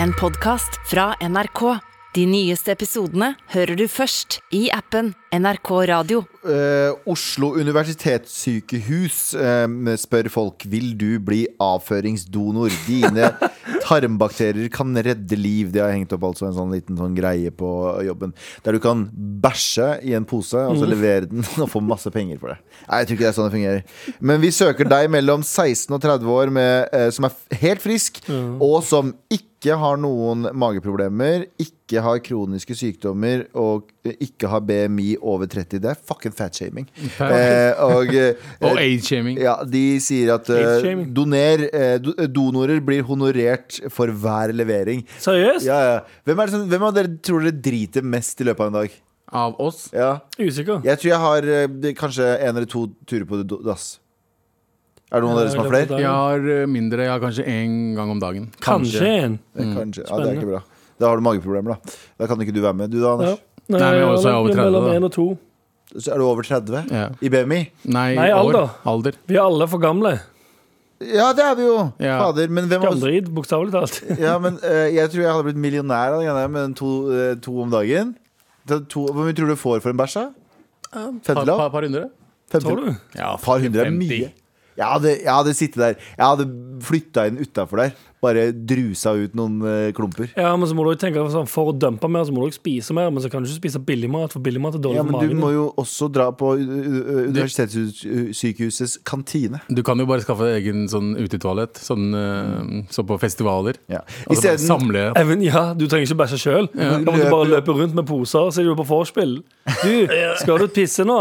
En podcast fra NRK. De nyeste episodene hører du først i appen NRK Radio. Eh, Oslo universitetssykehus eh, spør folk Vil du bli avføringsdonor. Dine tarmbakterier kan redde liv. De har hengt opp altså en sånn liten sånn greie på jobben. Der du kan bæsje i en pose og så levere den og få masse penger for det. Nei, jeg tror ikke det er sånn det fungerer. Men vi søker deg mellom 16 og 30 år med, eh, som er f- helt frisk, og som ikke ikke har noen mageproblemer, ikke har kroniske sykdommer og ikke har BMI over 30. Det er fucking fatshaming. Eh, og eh, Og age-shaming. ja, de sier at eh, Age-shaming. doner, eh, do- donorer blir honorert for hver levering. Seriøst? Ja, ja. Hvem, er det som, hvem av dere tror dere driter mest i løpet av en dag? Av oss. Ja. Usikker. Jeg tror jeg har eh, det- kanskje en eller to turer på do- dass. Er det noen av dere som har Ja, i løpet av flere? dagen. Jeg har eh, mindre. Jeg har kanskje én gang om dagen. Kanskje en. Eh, Kanskje. Ja, det er ikke bra. Da har du mageproblemer, da. Da kan ikke du være med. Du da, Ja. Anders? Nei, Nei, men jeg er også over 30 Mellom da. én og to. Så er du over 30 Ja. i BMI? Nei, Nei, år. alder. Alder. Vi er alle for gamle. Ja, det er vi jo! Ja. Fader. Men, hvem av oss- Gamledrit, bokstavelig talt. ja, men eh, jeg tror jeg hadde blitt millionær av den greia der med den to, eh, to om dagen. Det er To, hvor mye tror du du får for en bæsj, da? Par, 50 lapp? par, par hundre? Femti- Tror du? Ja, Par hundre er 50. mye. Jeg hadde, jeg hadde sittet der. Jeg hadde flytta inn utafor der. Bare drusa ut noen eh, klumper. Ja, men så må du jo tenke sånn, For å dumpe mer, så må du jo spise mer. Men så kan du ikke spise billig mat, for billig mat er dårlig Ja, for men du magen. må jo også dra på eh, eh, universitetssykehusets kantine. Du kan jo bare skaffe deg egen sånn utetoalett, sånn eh, så på festivaler. Ja. Og så bare Isteden- samle Even, ja, du trenger ikke bæsje sjøl. Da må du bare løpe rundt med poser, så er du på vorspiel. Du, skal du pisse nå?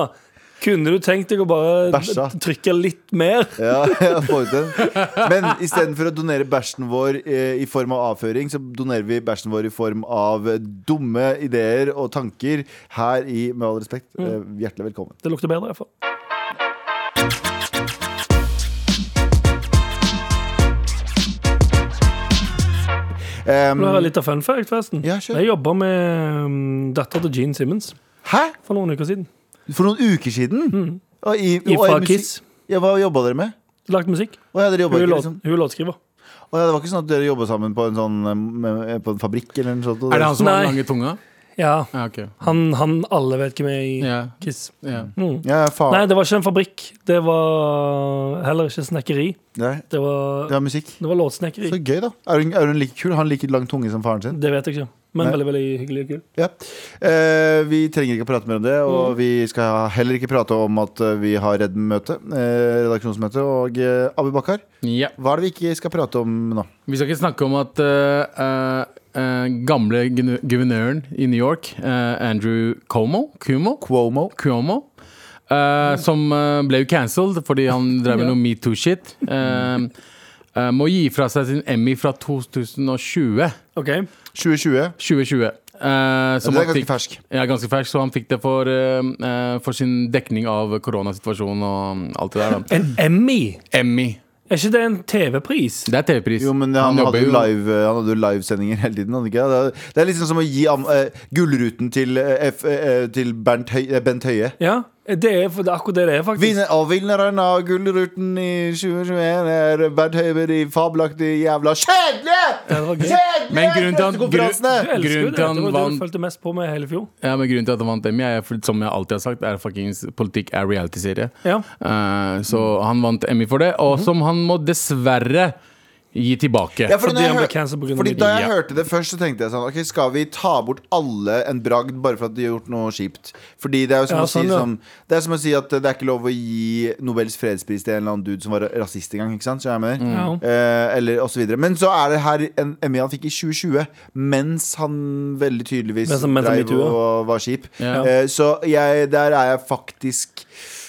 Kunne du tenkt deg å bare Bæsja. trykke litt mer? Ja, jeg får ut den. Men istedenfor å donere bæsjen vår eh, i form av avføring, så donerer vi bæsjen vår i form av eh, dumme ideer og tanker her i Med all respekt, eh, hjertelig velkommen. Det lukter bedre, iallfall. Em, Det er litt av fun fact, forresten. Mm. Ja, kjør. jeg jobba med um, dattera til Gene Simmons hæ? for noen uker siden. For noen uker siden? Og i, I og Mm. i fra musikk- Kiss. Ja, hva jobba dere med? Lagt musikk. Å, ja, dere Hun jobbet er ikke, låt- liksom. hun er låtskriver. Å, ja, det var ikke sånn at dere jobba sammen på en, sånn, em, eh, på en fabrikk eller noe sånt? og Er det dere- han som har Nei. den lange tunga? Ja, Ja, ok. han, han alle vet hvem er i Ja, Kiss. ja. Mm. Ja, faen. Nei, det var ikke en fabrikk. Det var heller ikke snekkeri. Nei, Det var, det var musikk. det var låtsnekkeri. Så gøy, da. Er hun, er hun like kul? Har hun like lang tunge som faren sin? Det vet jeg ikke, men Nei. veldig veldig hyggelig og kul. Ja. Eh, vi trenger ikke å prate mer om det, og vi skal heller ikke prate om at eh, vi har Redden-møte, eh, redaksjonsmøte. Og eh, Abu Bakar, ja. hva er det vi ikke skal prate om nå? Vi skal ikke snakke om at eh, eh, eh, gamle gnu- guvernøren i New York, eh, Andrew Cuomo, Cuomo, Cuomo. Cuomo eh, som eh, ble jo cancelled fordi han drev med Ja. noe metoo-shit, eh, eh, må gi fra seg sin Emmy fra 2020. Ok, 2020. 2020 eh, som det er han ganske fikk- fersk. Ja, ganske fersk, så han fikk det for, eh, eh, for sin dekning av koronasituasjonen og alt det der. Da. En Emmy? Emmy. Er ikke det en TV-pris? Det er TV-pris. Jo, men han, hadde jobber jo jo- live, eh, han hadde jo livesendinger hele tiden. Hadde ikke? det? Det er- Det er liksom som å gi am- eh, Gullruten til, eh, F, eh, til Bernt Høy, eh, Bent Høie. Ja, det er, for det er akkurat det det er, faktisk. Vinner, og vinneren av Gullruten i 2021 er Bernt Høie med de fabelaktige jævla Det var gøy. Kjedelige! Men grunnen til at- pressekonferansene! Du elsker jo Grunnen det. til han Det var det vant- du fulgte mest på med hele fjor. Ja, men Grunnen til at han vant Emmy, er, for- som jeg alltid har sagt, er fuckings politikk er reality-serie. Ja. Eh, så han vant Emmy for det, og som han må dessverre gi tilbake. Mhm. Ja, fordi, Fordi når jeg han ble hør- cancelled på grunn av fordi media. da jeg Ja. hørte det først, så tenkte jeg sånn Ok, skal vi ta bort alle en bragd bare for at de har gjort noe kjipt? Fordi det er jo som, Ja, å, si, sånn, ja. som, det er som å si at det er ikke lov å gi Nobels fredspris til en eller annen dude som var rasist en gang. Ikke sant? Så jeg mener Ja. Eh, eller og så videre. Men så er det her en Emmy han fikk i 2020, mens han veldig tydeligvis Mens han- mens han dreiv metoo, ja. og var kjip. Ja. Eh, så jeg, der er jeg faktisk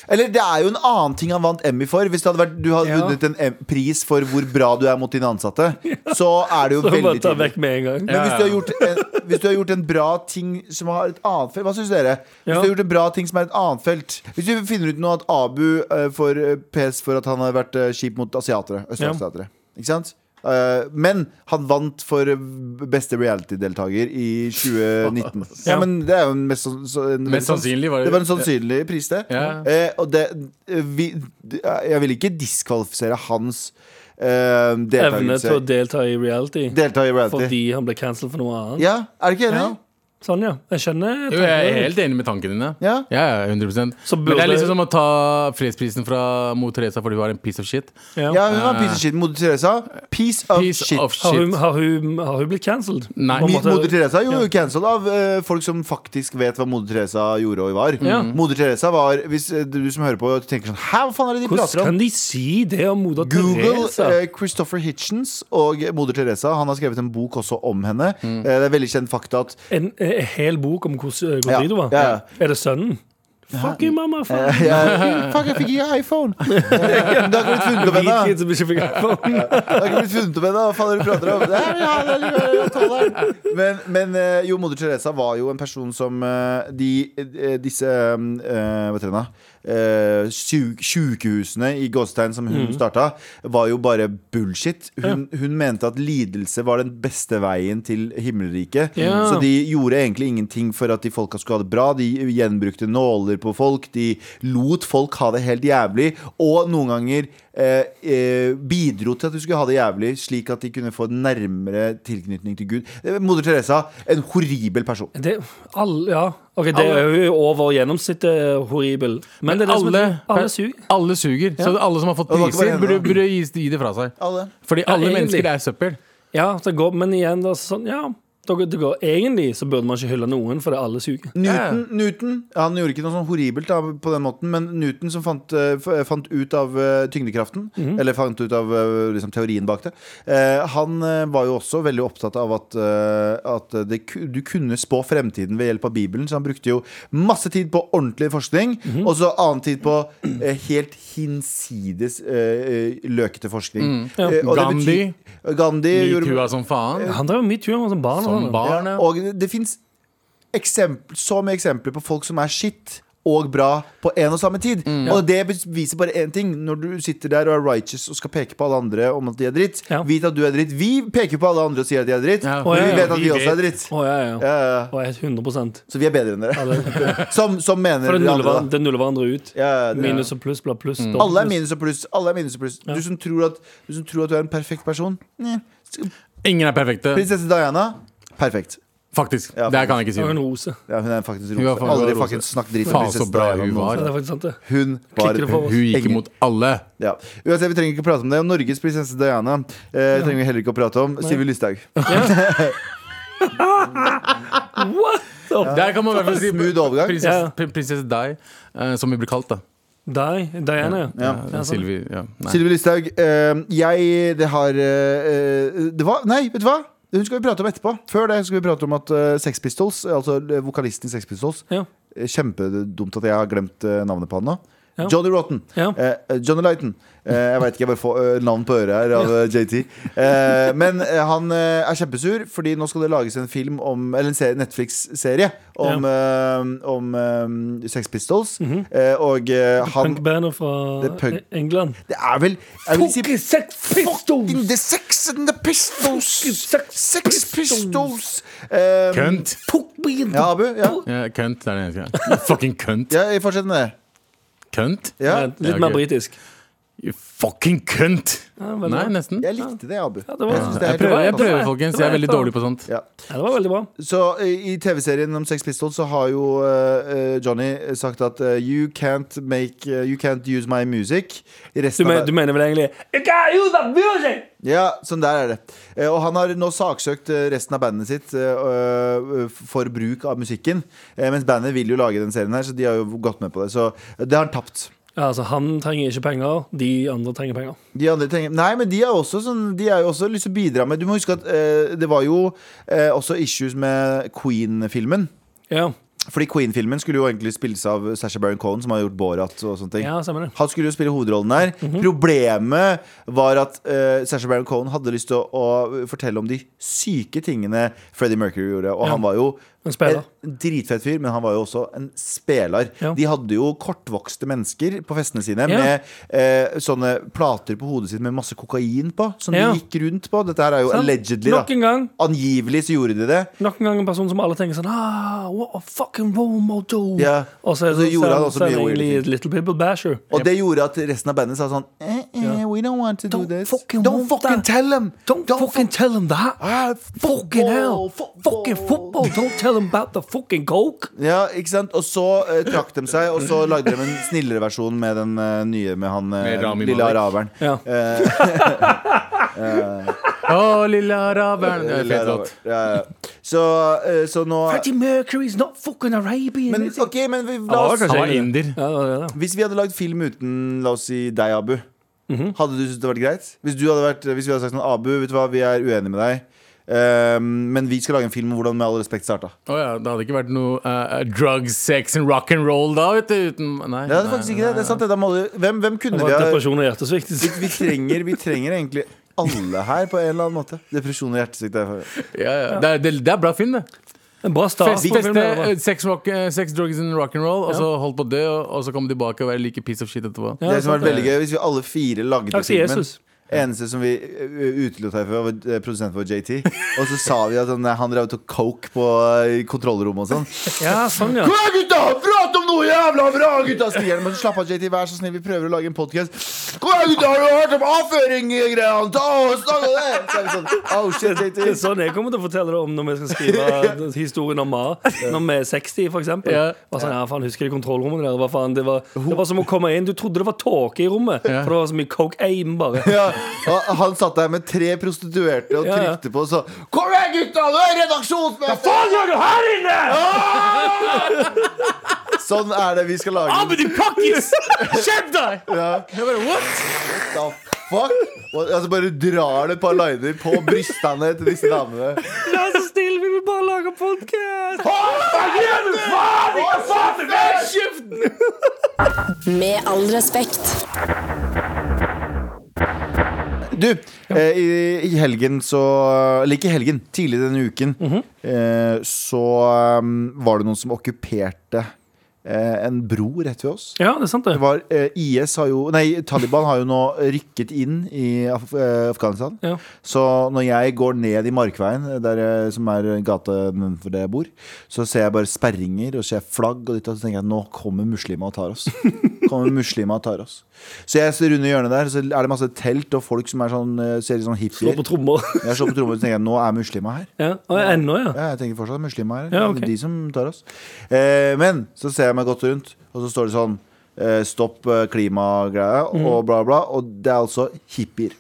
eller det er jo en annen ting han vant Emmy for. Hvis det hadde vært, du hadde Ja. vunnet en em- pris for hvor bra du er mot dine ansatte, så er det jo Så bare veldig ta tydelig. vekk med en gang. Men hvis Ja, du, ja. har gjort en, hvis du har gjort en bra ting som har et annet felt Hva syns dere? Hvis Ja. du har gjort en bra ting som er et annet felt Hvis du finner ut nå at Abu eh, får eh, pes for at han har vært eh, kjip mot asiatere, østasiatere Ikke sant? Eh, men han vant for eh, beste reality-deltaker i 2019. Ja, Ja. men det er jo en mest, sann- så- en, sånn- Mest sannsynlig var det- Det var en sannsynlig pris, det. Ja. Eh, og det eh, vi, d- Jeg vil ikke diskvalifisere hans eh, eh, Evne til å deltakelse. delta i reality Delta i reality. fordi han ble cancelled for noe annet. Ja, er du ikke enig? Sånn, ja. Jeg skjønner. Jo, jeg er helt enig med tankene dine. Ja. Ja, ja, 100 Så Men det er burde- liksom som å ta fredsprisen fra Mo Teresa fordi hun er en piece of shit. Ja. Ja, hun var piece of shit. Moder Teresa. Piece of Piece shit. of Har, hun, shit. har, hun, har hun blitt cancelled? Nei. På en Mi- måte- Moder Teresa er jo cancelled av eh, folk som faktisk vet hva Moder Teresa gjorde og var. Mm. Ja. Moder Teresa var Hvis eh, du som hører på, tenker sånn Hæ, hva faen er det de prater Hvordan om? kan de si det om moder Google, Teresa? eh, Christopher Hitchens og moder Teresa. Han har skrevet en bok også om henne. Mm. Eh, det er veldig kjent fakta at En, eh, en hel bok om hvordan hvor Ja, tid det var? ja, Eh, ja. Er det sønnen? Fuck you, mamma. Fuck. ja, Fuck, jeg fikk ikke iPhone! Eh, Det har ikke blitt funnet opp Hvit ennå. kid som ikke fikk iPhone. Det har ikke blitt funnet opp ennå. Hva faen er det du prater om? Det er, ja, det er, det er, tolveren. men, men eh, jo, moder Teresa var jo en person som eh, de, eh, disse eh, Hva heter det nå? Eh, sju- Sjukehusene i Gåstein som hun starta, var jo bare bullshit. Hun, hun mente at lidelse var den beste veien til himmelriket. Ja. Så de gjorde egentlig ingenting for at de folka skulle ha det bra. De gjenbrukte nåler på folk. De lot folk ha det helt jævlig. Og noen ganger eh, eh, bidro til at de skulle ha det jævlig, slik at de kunne få en nærmere tilknytning til Gud. Eh, Moder Teresa, en horribel person. Det, all, ja. Ok, det Alle- er jo over gjennomsnittet eh, horribel. Men det er det som alle, er, alle suger. alle suger. Så alle som har fått Og det var ikke bare priser, henne, burde, da. burde gi, gi det fra seg. Alle. Fordi alle egentlig. mennesker er søppel. Ja, det går, men igjen, det er sånn, ja. Det det går. Egentlig så burde man ikke hylle noen, for det er alle suger. Newton, Newton han gjorde ikke noe sånn horribelt da, på den måten, men Newton som fant, eh, f- fant ut av eh, tyngdekraften, eller fant ut av eh, liksom, teorien bak det, eh, han eh, var jo også veldig opptatt av at, eh, at det, ku- du kunne spå fremtiden ved hjelp av Bibelen, så han brukte jo masse tid på ordentlig forskning, og så annen tid på eh, helt hinsides eh, eh, løkete forskning. Eh, og det Gandhi. betyr- Gandhi gjorde Metoo er som faen. Han drev mye tur med som barn. Som og sånn. barn, ja. og det fins eksempl- så mye eksempler på folk som er shit og bra på en og samme tid. Mm. Og det beviser bare én ting. Når du sitter der og er righteous og skal peke på alle andre om at de er dritt, Ja. vit at du er dritt. Vi peker på alle andre og sier at de er dritt, Ja. men Å, ja, vi vet ja, at vi vi også vet. er dritt. Å, ja, ja. Ja, ja, ja. Å, jeg er 100 Så vi er bedre enn dere. Som, som mener For det de nuller, andre, hver- da. det nuller hverandre ut. Ja, ja, det- Minus og pluss blir pluss. dobbelt alle er pluss. minus og pluss. Alle er minus og pluss. Du, som tror at, du som tror at du er en perfekt person. Nei. Ingen er perfekte, Prinsesse Diana perfekt. faktisk. Ja, Det kan jeg ikke Det si. var en rose. Ja, hun er faktisk Hun er rose. faktisk Aldri rose. fucking snakk dritt om Faen, så prinsesse bra Diana. hun Ja, noensinne. det er faktisk sant, det. Hun var Klikker det for oss? Hun gikk Ingen. imot alle. Ja. Uansett, vi trenger ikke prate om det. Og Norges prinsesse Diana eh, trenger vi heller ikke å prate om. Sivi Lysthaug. What the Der kan man i hvert fall si Smooth overgang. Ja. prinsesse, prin- prinsesse Di, eh, som vi blir kalt, da. Eh, Di, Diana, ja. Ja. Ja, sånn. Sylvi. Ja. Nei. Sylvi Lysthaug, eh, jeg Det har eh, Det var Nei, vet du hva? Hun skal vi prate om etterpå. Før det skal vi prate om at eh, Sex Pistols, altså eh, vokalisten i Sex Pistols Ja. eh, Kjempedumt at jeg har glemt eh, navnet på han nå. Ja. Johnny Rotten. Ja. Eh, Johnny Lighton. Eh, jeg veit ikke, jeg bare får eh, navn på øret her av eh, JT. Eh, men eh, han eh, er kjempesur, fordi nå skal det lages en film om Eller en serie- Netflix-serie om, eh, om eh, Sex Pistols. Mhm. eh, og eh, han Punkbandet Det er fra punk. England. Det er vel jeg vil si, sex Fucking the sex and the pistols! Fucking Sex Sex pistols! Um, Kønt! ja, Abu? Ja, Ja, kønt det er det eneste. Fucking kønt. ja fortsett med det. Kønt? Ja. Litt mer ok. britisk. You Fucking kønt! Ja, veldig Nei, bra. nesten. Jeg likte det, Abu. det var- Jeg synes det er Jeg helt prøver, jeg fantastisk. prøver folkens. Jeg er veldig dårlig på sånt. Ja. Ja, det var veldig bra. Så eh, i TV-serien om Sex Pistols så har jo eh, eh, Johnny sagt at eh, You can't make eh, You can't use my music. I Du, Resten men, av du mener vel egentlig You gotta use that music! Ja, sånn der er det. Eh, og han har nå saksøkt eh, resten av bandet sitt eh, øh, for bruk av musikken. Eh, mens bandet vil jo lage den serien her, så de har jo gått med på det. Så eh, det har han tapt. Ja, altså, han trenger ikke penger, de andre trenger penger. De andre trenger Nei, men de er, også sånn, de er jo også lyst til å bidra med Du må huske at eh, det var jo eh, også issues med Queen-filmen. Ja, Fordi Queen-filmen skulle jo egentlig spilles av Sasha Baron Cohen, som har gjort Borat og sånne ting. ja Mhm. stemmer det. Han skulle jo spille hovedrollen der. Problemet var at uh, Sasha Baron Cohen hadde lyst til å, å fortelle om de syke tingene Freddie Mercury gjorde. Og Ja. han var jo En speler. en dritfett fyr, men han var jo også en speler. Ja. De hadde jo kortvokste mennesker på festene sine Ja. med eh, sånne plater på hodet sitt med masse kokain på, som Ja. de gikk rundt på. Dette her er jo Sant? allegedly, da. Nok en gang Angivelig så gjorde de det. Nok en gang en person som alle tenker sånn ah, What a fucking Romo do Ja. Og så, Og så gjorde han også så er mye han weirde egentlig ting. Little People Basher Og det gjorde at resten av bandet sa sånn eh, eh, Ja. we don't want to do Don't this. fucking don't want fucking that. tell them. Don't, fucking tell them that. Ah, Fucking hell. football. Fucking football. Don't tell them about the fucking coke. Ja, ikke sant? Og så eh, trakk de seg, og så lagde de en snillere versjon med den eh, nye med han eh, Med Rami lille Malek. araberen. Eh. Ja. Å, lille araberen. Det er en Lille fet araber. låt. Ja, ja. Så, eh, så nå Freddie Mercury's not fucking Arabian. Men is he? ok, men vi, la Han var oss kanskje Han var egentlig- inder. Ja, ja, ja. Hvis vi hadde lagd film uten, la oss si, deg, Abu Mhm. Hadde du syntes det vært greit? Hvis, du hadde vært, hvis vi hadde sagt sånn, Abu, vet du hva, vi er uenige med deg ehm, Men vi skal lage en film om hvordan med all respekt starta Å ja, det hadde ikke vært noe eh, drugs, sex and rock and roll da, vet du. Uten, nei, Det hadde nei, faktisk ikke det, det er sant det Da må du- hvem, hvem Det kunne vi var ha depresjon og hjertesvikt. vi, vi, trenger, vi trenger egentlig alle her på en eller annen måte Depresjon og hjertesvikt er- Ja, ja. Det, er- det, det er bra film, det. En bra start. Fest, på filmen, feste, i hvert fall. eh, sex, rock, eh, sex, drugs and rock and roll, og så holdt på å dø, og, og så kom de tilbake og være like piece of shit etterpå. Ja, Det som hadde vært sant veldig gøy hvis vi alle fire lagde Takk til filmen Jesus. Eneste som vi eh, utelot her for, var eh, produsenten vår, JT. Og så sa vi at han, eh, han drev og tok coke på eh, kontrollrommet og sånn. Ja, sånn, ja. Kom igjen, gutta! Prat om noe jævla bra! gutta skriker han, Men slapp av, JT. Vær så snill, vi prøver å lage en podkast. Kom igjen, gutta! Har du hørt om avføring-greiene? Ta og snakk om det! Så er vi sånn, oh shit, Det er JT. sånn jeg kommer til å fortelle det om når vi skal skrive historien om Ma. Når vi er 60, for eksempel. Ja. Bare sånn, ja, faen, husker de kontrollrommene der? Hva faen, det, var, det var som å komme inn Du trodde det var tåke i rommet, Ja. for det var så mye coke-aim, bare. Ja, og han satt der med tre prostituerte og Ja, ja. trykte på og så Kom igjen, gutta! Nå er redaksjonsmøte! Ah! Faen gjør du her inne?! Sånn er det vi skal lage. din pakkis! Skjerp deg! Jeg bare, what? Da, fuck? Og, altså, bare drar det et par liner på brystene til disse damene. Vær så snill, vi vil bare lage podkast! Med all respekt. Du, eh, i, i helgen så Eller ikke helgen, tidlig denne uken eh, Så um, var det noen som okkuperte eh, en bro rett ved oss Ja, det er sant, Det det. var, eh, IS har jo, nei, Taliban har jo nå rykket inn i Af eh, Afghanistan Ja. Så når jeg går ned i Markveien eh, der, jeg- Som er gata for det jeg bor Så ser jeg bare sperringer og ser flagg og ditt, Og så tenker jeg, nå kommer muslimer og tar oss Kommer muslimer og tar oss Så jeg ser rundt i hjørnet der, så er det masse telt Og folk som er sånn, eh, ser litt sånn hippier Slå på trommer. jeg slår på trommet og tenker jeg, nå er muslimer her. Ja. Og jeg- ennå, ja. Ja, jeg tenker fortsatt muslimer her. Ja, ok. De som tar oss. Eh, men så ser jeg meg godt rundt, og så står det sånn eh, Stopp eh, klimagreia og bla, bla. Og det er altså hippier.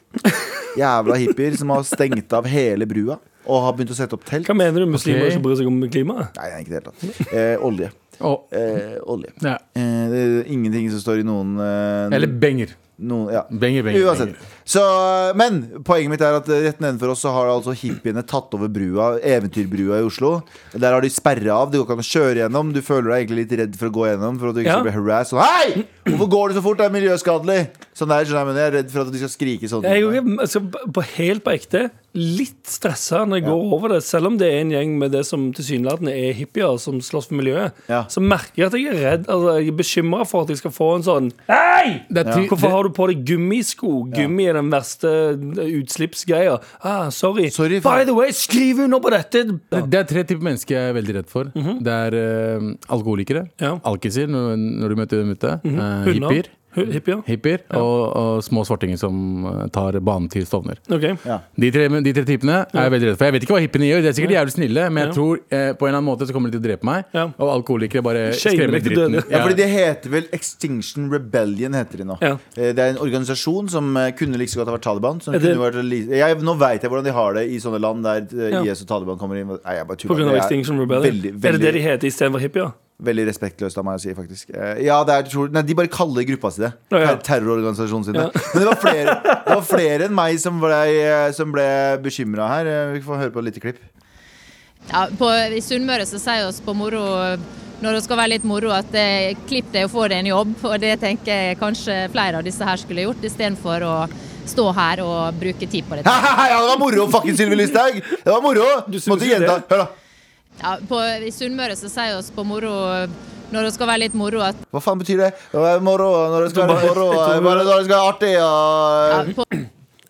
Jævla hippier som har stengt av hele brua og har begynt å sette opp telt. Hva mener du muslimer Ok. som bryr seg om klimaet? Nei, ikke i det hele tatt. Eh, olje. Å, Eh, olje. ja. Eh, det er ingenting som står i noen, eh, Eller benger. noen ja. Benger, benger, Uansett. benger. Så, men poenget mitt er at rett nedenfor oss så har altså hippiene tatt over brua, Eventyrbrua i Oslo. Der har de sperra av. Det går ikke an å kjøre gjennom. Du føler deg egentlig litt redd for å gå gjennom. For at du ikke Ja. skal bli harassed. Sånn, Hei! Hvorfor går du så fort? Det er miljøskadelig! Sånn der, skjønner jeg, men jeg er redd for at de skal skrike sånn. Jeg er jo- altså, på, helt på ekte litt stressa når jeg går over det. Selv om det er en gjeng med det som tilsynelatende er hippier som slåss for miljøet, Ja. så merker jeg at jeg er redd altså, Jeg er bekymra for at jeg skal få en sånn Hei! Det er ty- Hvorfor har du på deg gummisko? Gummi er den verste eh, utslippsgreia. Ah, sorry. Sorry, By faen. the way, skriv under på dette! Det, det er tre typer mennesker jeg er veldig redd for. Det er eh, alkoholikere, Mhm. Ja. Mhm. alkiser når, når du møter dem ute, eh, Hunder. hippier, Hu- Hippier. hippier og, og små svartinger som eh, tar banen til Stovner. Ok. Ja. De tre, de tre typene er jeg veldig redd for. Jeg vet ikke hva hippiene gjør, de er sikkert jævlig snille, men jeg Ja. tror eh, på en eller annen måte så kommer de til å drepe meg. Ja. Og alkoholikere bare Shamer skremmer deg til dritten. døde. Ja, fordi Det heter vel Extinction Rebellion. heter de nå Ja. Eh, Det er en organisasjon som eh, kunne like så godt ha vært Taliban. Som Er det- kunne vært, li- jeg, nå veit jeg hvordan de har det i sånne land der eh, Ja. IS og Taliban kommer inn. Nei, jeg bare tuller. På grunn av Det er Extinction Rebellion. Veldig, Er det veldig, det de heter istedenfor hippier? veldig respektløst av meg å si, faktisk. Eh, Ja, det er, tror- nei, De bare kaller gruppa si det. Ja, ja. Ter- Terrororganisasjonen sin. det. Men det var, flere, det var flere enn meg som ble, eh, som ble bekymra her. Eh, Vi får høre på et lite klipp. Ja, på, I Sunnmøre så sier oss på moro, når det skal være litt moro, at eh, klipp deg og få deg en jobb. Og det tenker jeg kanskje flere av disse her skulle gjort, istedenfor å stå her og bruke tid på dette. Hei, ja, det var moro, fucking Sylvi Listhaug! Det var moro! synes Måtte jo det. gjenta. Hør, da. Ja, på, I Sunnmøre så sier oss på moro, når det skal være litt moro, at Hva faen betyr det? Det er Moro når det skal være Jeg tror moro. bare- jeg tror- Bare når det skal være artig ja, og på,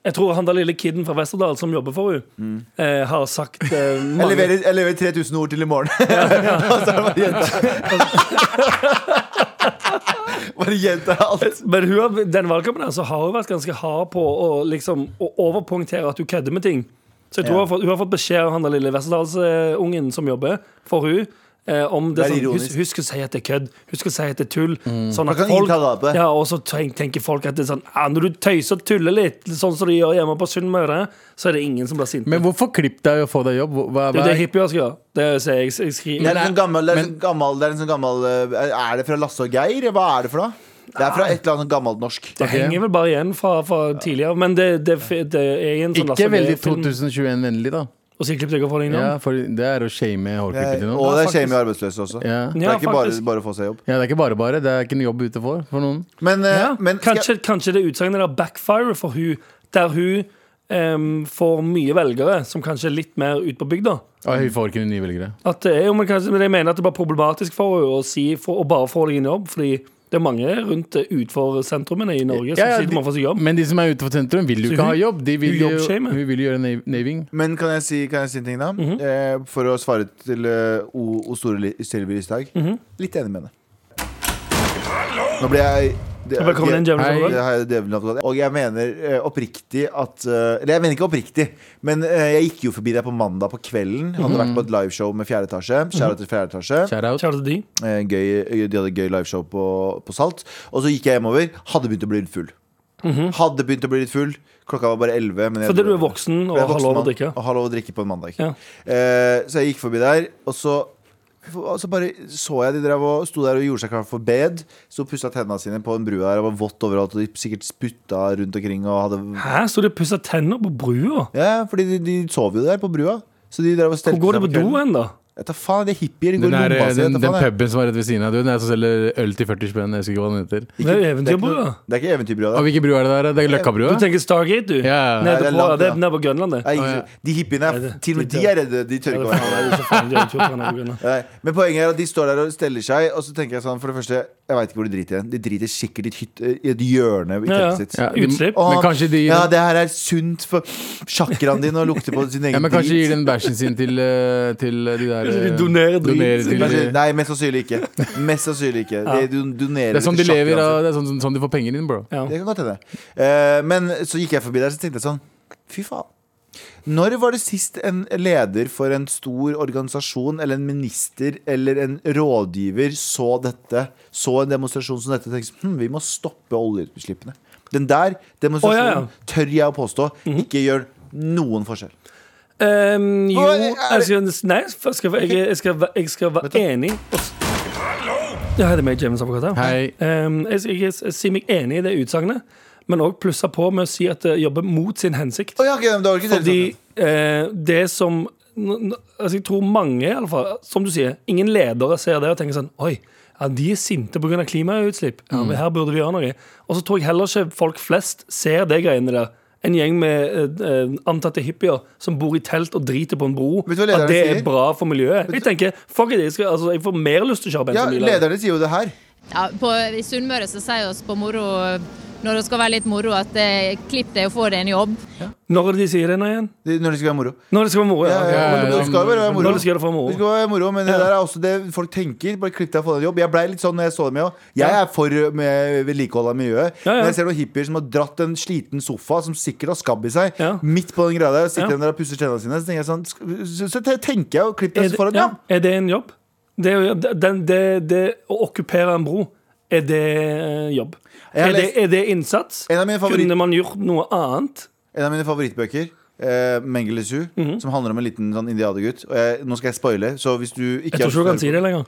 Jeg tror han der lille kiden fra Westerdal som jobber for henne, eh, har sagt eh, Mm. jeg mange leverer, jeg leverer 3000 ord til i morgen. Og så er det bare å gjenta. Bare gjenta alt. Men hun har, den valgkampen her, så har hun vært ganske hard på å, liksom, å overpunktere at hun kødder med ting. Så jeg Ja. tror hun, har fått, hun har fått beskjed av han der lille Westerdalsungen som jobber for hun eh, om Det det, er sånn, ironisk. Mm. husk, husk å si at det er kødd. Husk å si at det er tull. Sånn Man at kan folk, ikke ta det på. ja, og så tenk, tenker folk at det er sånn ah, Når du tøyser og tuller litt, sånn som de gjør hjemme på Sunnmøre, så er det ingen som blir sinte. Men hvorfor klipp deg og få deg jobb? Hva, hva, det er jo det hippier skal gjøre. Det sier jeg, jeg skriver. Det er en sånn gammel, det er, en men- sånn gammel, det er, en sånn gammel eh, Er det fra Lasse og Geir? Hva er det for noe? Det er fra et eller annet sånn gammelt norsk. Det henger vel bare igjen fra, fra tidligere, men det, det, det er en sånn ikke veldig film. 2021-vennlig, da. Og så klippet jeg for deg nå. Ja, for det er å shame hårklippet og til noen. det Ja, er shame i arbeidsløse også. Ja. Det er ikke bare, faktisk. bare å få seg jobb. ja, Det er ikke bare bare. Det er ikke noe jobb ute for, for noen. Men, eh, Ja, men skal jeg- kanskje, kanskje det utsagnet der backfire for hun Der hun em, får mye velgere som kanskje er litt mer ut på bygda. Og vi får ikke noen nye velgere. At det er jo, men kanskje, men jeg mener at det var problematisk for henne å si for, å bare få deg en jobb, fordi det er mange rundt eh, utenfor sentrumene i Norge som Ja, ja, sitter med å få seg jobb. Men de som er ute for sentrum, vil jo Så ikke hun- ha jobb. De vil hun jo, jobbshamer. hun vil jo gjøre nav- naving. Men kan jeg si, kan jeg si en ting, da? eh, for å svare til eh, O, o Store Li- Sylvi Listhaug. Litt enig med henne. Nå ble jeg det, Velkommen inn, James Hei. Overgaard. det her er djevelen advokat. Og jeg mener eh, oppriktig at eh, Eller jeg mener ikke oppriktig, men eh, jeg gikk jo forbi deg på mandag på kvelden. Hadde vært på et liveshow med Fjerde etasje. Shout out til Fjerde etasje. Shout out. Kjære til de. Eh, gøy, de hadde et gøy liveshow på, på Salt. Og så gikk jeg hjemover. Hadde begynt å bli litt full. Hadde begynt å bli litt full. Klokka var bare 11. Men jeg- Fordi du er voksen og Jeg er har voksen lov å mann, drikke. Og har lov å drikke på en mandag. Ja. Eh, så jeg gikk forbi der, og så og så bare så jeg de drev og sto der og gjorde seg klar for bed. Sto og pussa tenna sine på en brua der og var vått overalt. Og de sikkert spytta rundt omkring og hadde Hæ, så de pussa tenner på brua? Ja, fordi de, de sov jo der på brua. Så de drev og stelte Hvor går seg du på do eh? kvelden. hen, da? Jeg tar faen, de er hippier. De går Den, i er, lomma si. jeg den, tar den faen, jeg. puben som er rett ved siden av, du, den er som selger øl til 40 spenn. Jeg husker ikke hva den heter. Det Det er jo er ikke eventyrbrua. noe- det er ikke eventyrbrua. det. Og hvilken bru er det der? Det er Løkkabrua? Du tenker Stargate, du? Ja, ja. Nede Nei, det er på- langt, det ja. er nede på Grønland, det. Nei, Å, ja. ikke, de hippiene Nei, er det- Til og med de de er redde. De tør Ja, ikke å det er være faen, det er jo så faen, det er jo tur på Grønland. Nei, Men poenget er at de står der og steller seg, og så tenker jeg sånn For det første, jeg veit ikke hvor de driter. hen. De driter sikkert i et hytte- i et hjørne i Ja, ja. teltet sitt. Ja, de- Utslipp. Og Men han- kanskje de Ja, det her er sunt for sjakraen din å lukte på sin Ja, egen men kanskje gir drit. den bæsjen sin til, eh, til de der Kanskje de eh, donerer drit. til Kanskje- Nei, mest sannsynlig ikke. Mest sannsynlig ikke. De don- donerer Det er sånn de til lever sjakraen av, det er sånn, sånn de får penger inn, bro. Ja. sin. Det kan godt hende. Eh, Men så gikk jeg forbi der, så tenkte jeg sånn Fy faen. Når var det sist en leder for en stor organisasjon eller en minister eller en rådgiver så dette, så en demonstrasjon som dette og tenkte sånn, hm, vi må stoppe oljeutslippene? Den der demonstrasjonen Å, ja, Mhm. tør jeg å påstå ikke gjør noen forskjell. Ehm, jo, Hva er det- jeg skal, nei, jeg skal, jeg, jeg skal, væ- jeg skal være enig og s- Ja, det er meg, James Advokat. her. Hei. Ehm, jeg, jeg, jeg, jeg sier meg enig i det utsagnet, men òg plussa på med å si at det jobber mot sin hensikt. Å, ja, ok, men Sånn det var ikke Fordi Fordi... eh, det som n- n- altså Jeg tror mange, i alle fall, som du sier, ingen ledere ser det og tenker sånn Oi, ja, de er sinte pga. klimautslipp. Mm. Ja, men Her burde vi gjøre noe. Og så tror jeg heller ikke folk flest ser de greiene der. En gjeng med eh, eh, antatte hippier som bor i telt og driter på en bro. Vet du hva At lederen det er sier? bra for miljøet. Jeg tenker, fuck it, jeg, skal, altså, jeg får mer lyst til å kjøre Ja, bensinbiler. lederne sier jo det her. Ja, på, I Sunnmøre så sier oss på moro, når det skal være litt moro, at eh, klipp deg og få deg en jobb. Når er det de sier det nå igjen? de- Når det skal være moro. Når det skal være moro. Ja, Ja, ja, ja, men det- ja, det skal jo bare være moro. Når det skal være for moro. Det skal være moro, men det der er også det folk tenker. Bare klipp deg og få deg en jobb. Jeg ble litt sånn når jeg så dem òg. Jeg er for med vedlikehold av miljøet. Ja, ja. Men jeg ser noen hippier som har dratt en sliten sofa, som sikkert har skabb i seg, Ja. midt på den greia der, og sitter Ja. den der og pusser tennene sine. Så tenker jeg sånn sk- Så så tenker jeg og klipp deg Er det, så får du en ja, jobb. er det en jobb? Det, er jo- den, det, det å okkupere en bro, er det eh, jobb? Jeg har Er det, lest- er det innsats? En av mine favoritt- Kunne man gjort noe annet? En av mine favorittbøker eh, Mengele Su, Mhm. som handler om en liten sånn indianergutt. Og jeg, nå skal jeg spoile, så hvis du ikke Jeg har tror ikke du lyst til å høre kan si på- det lenger.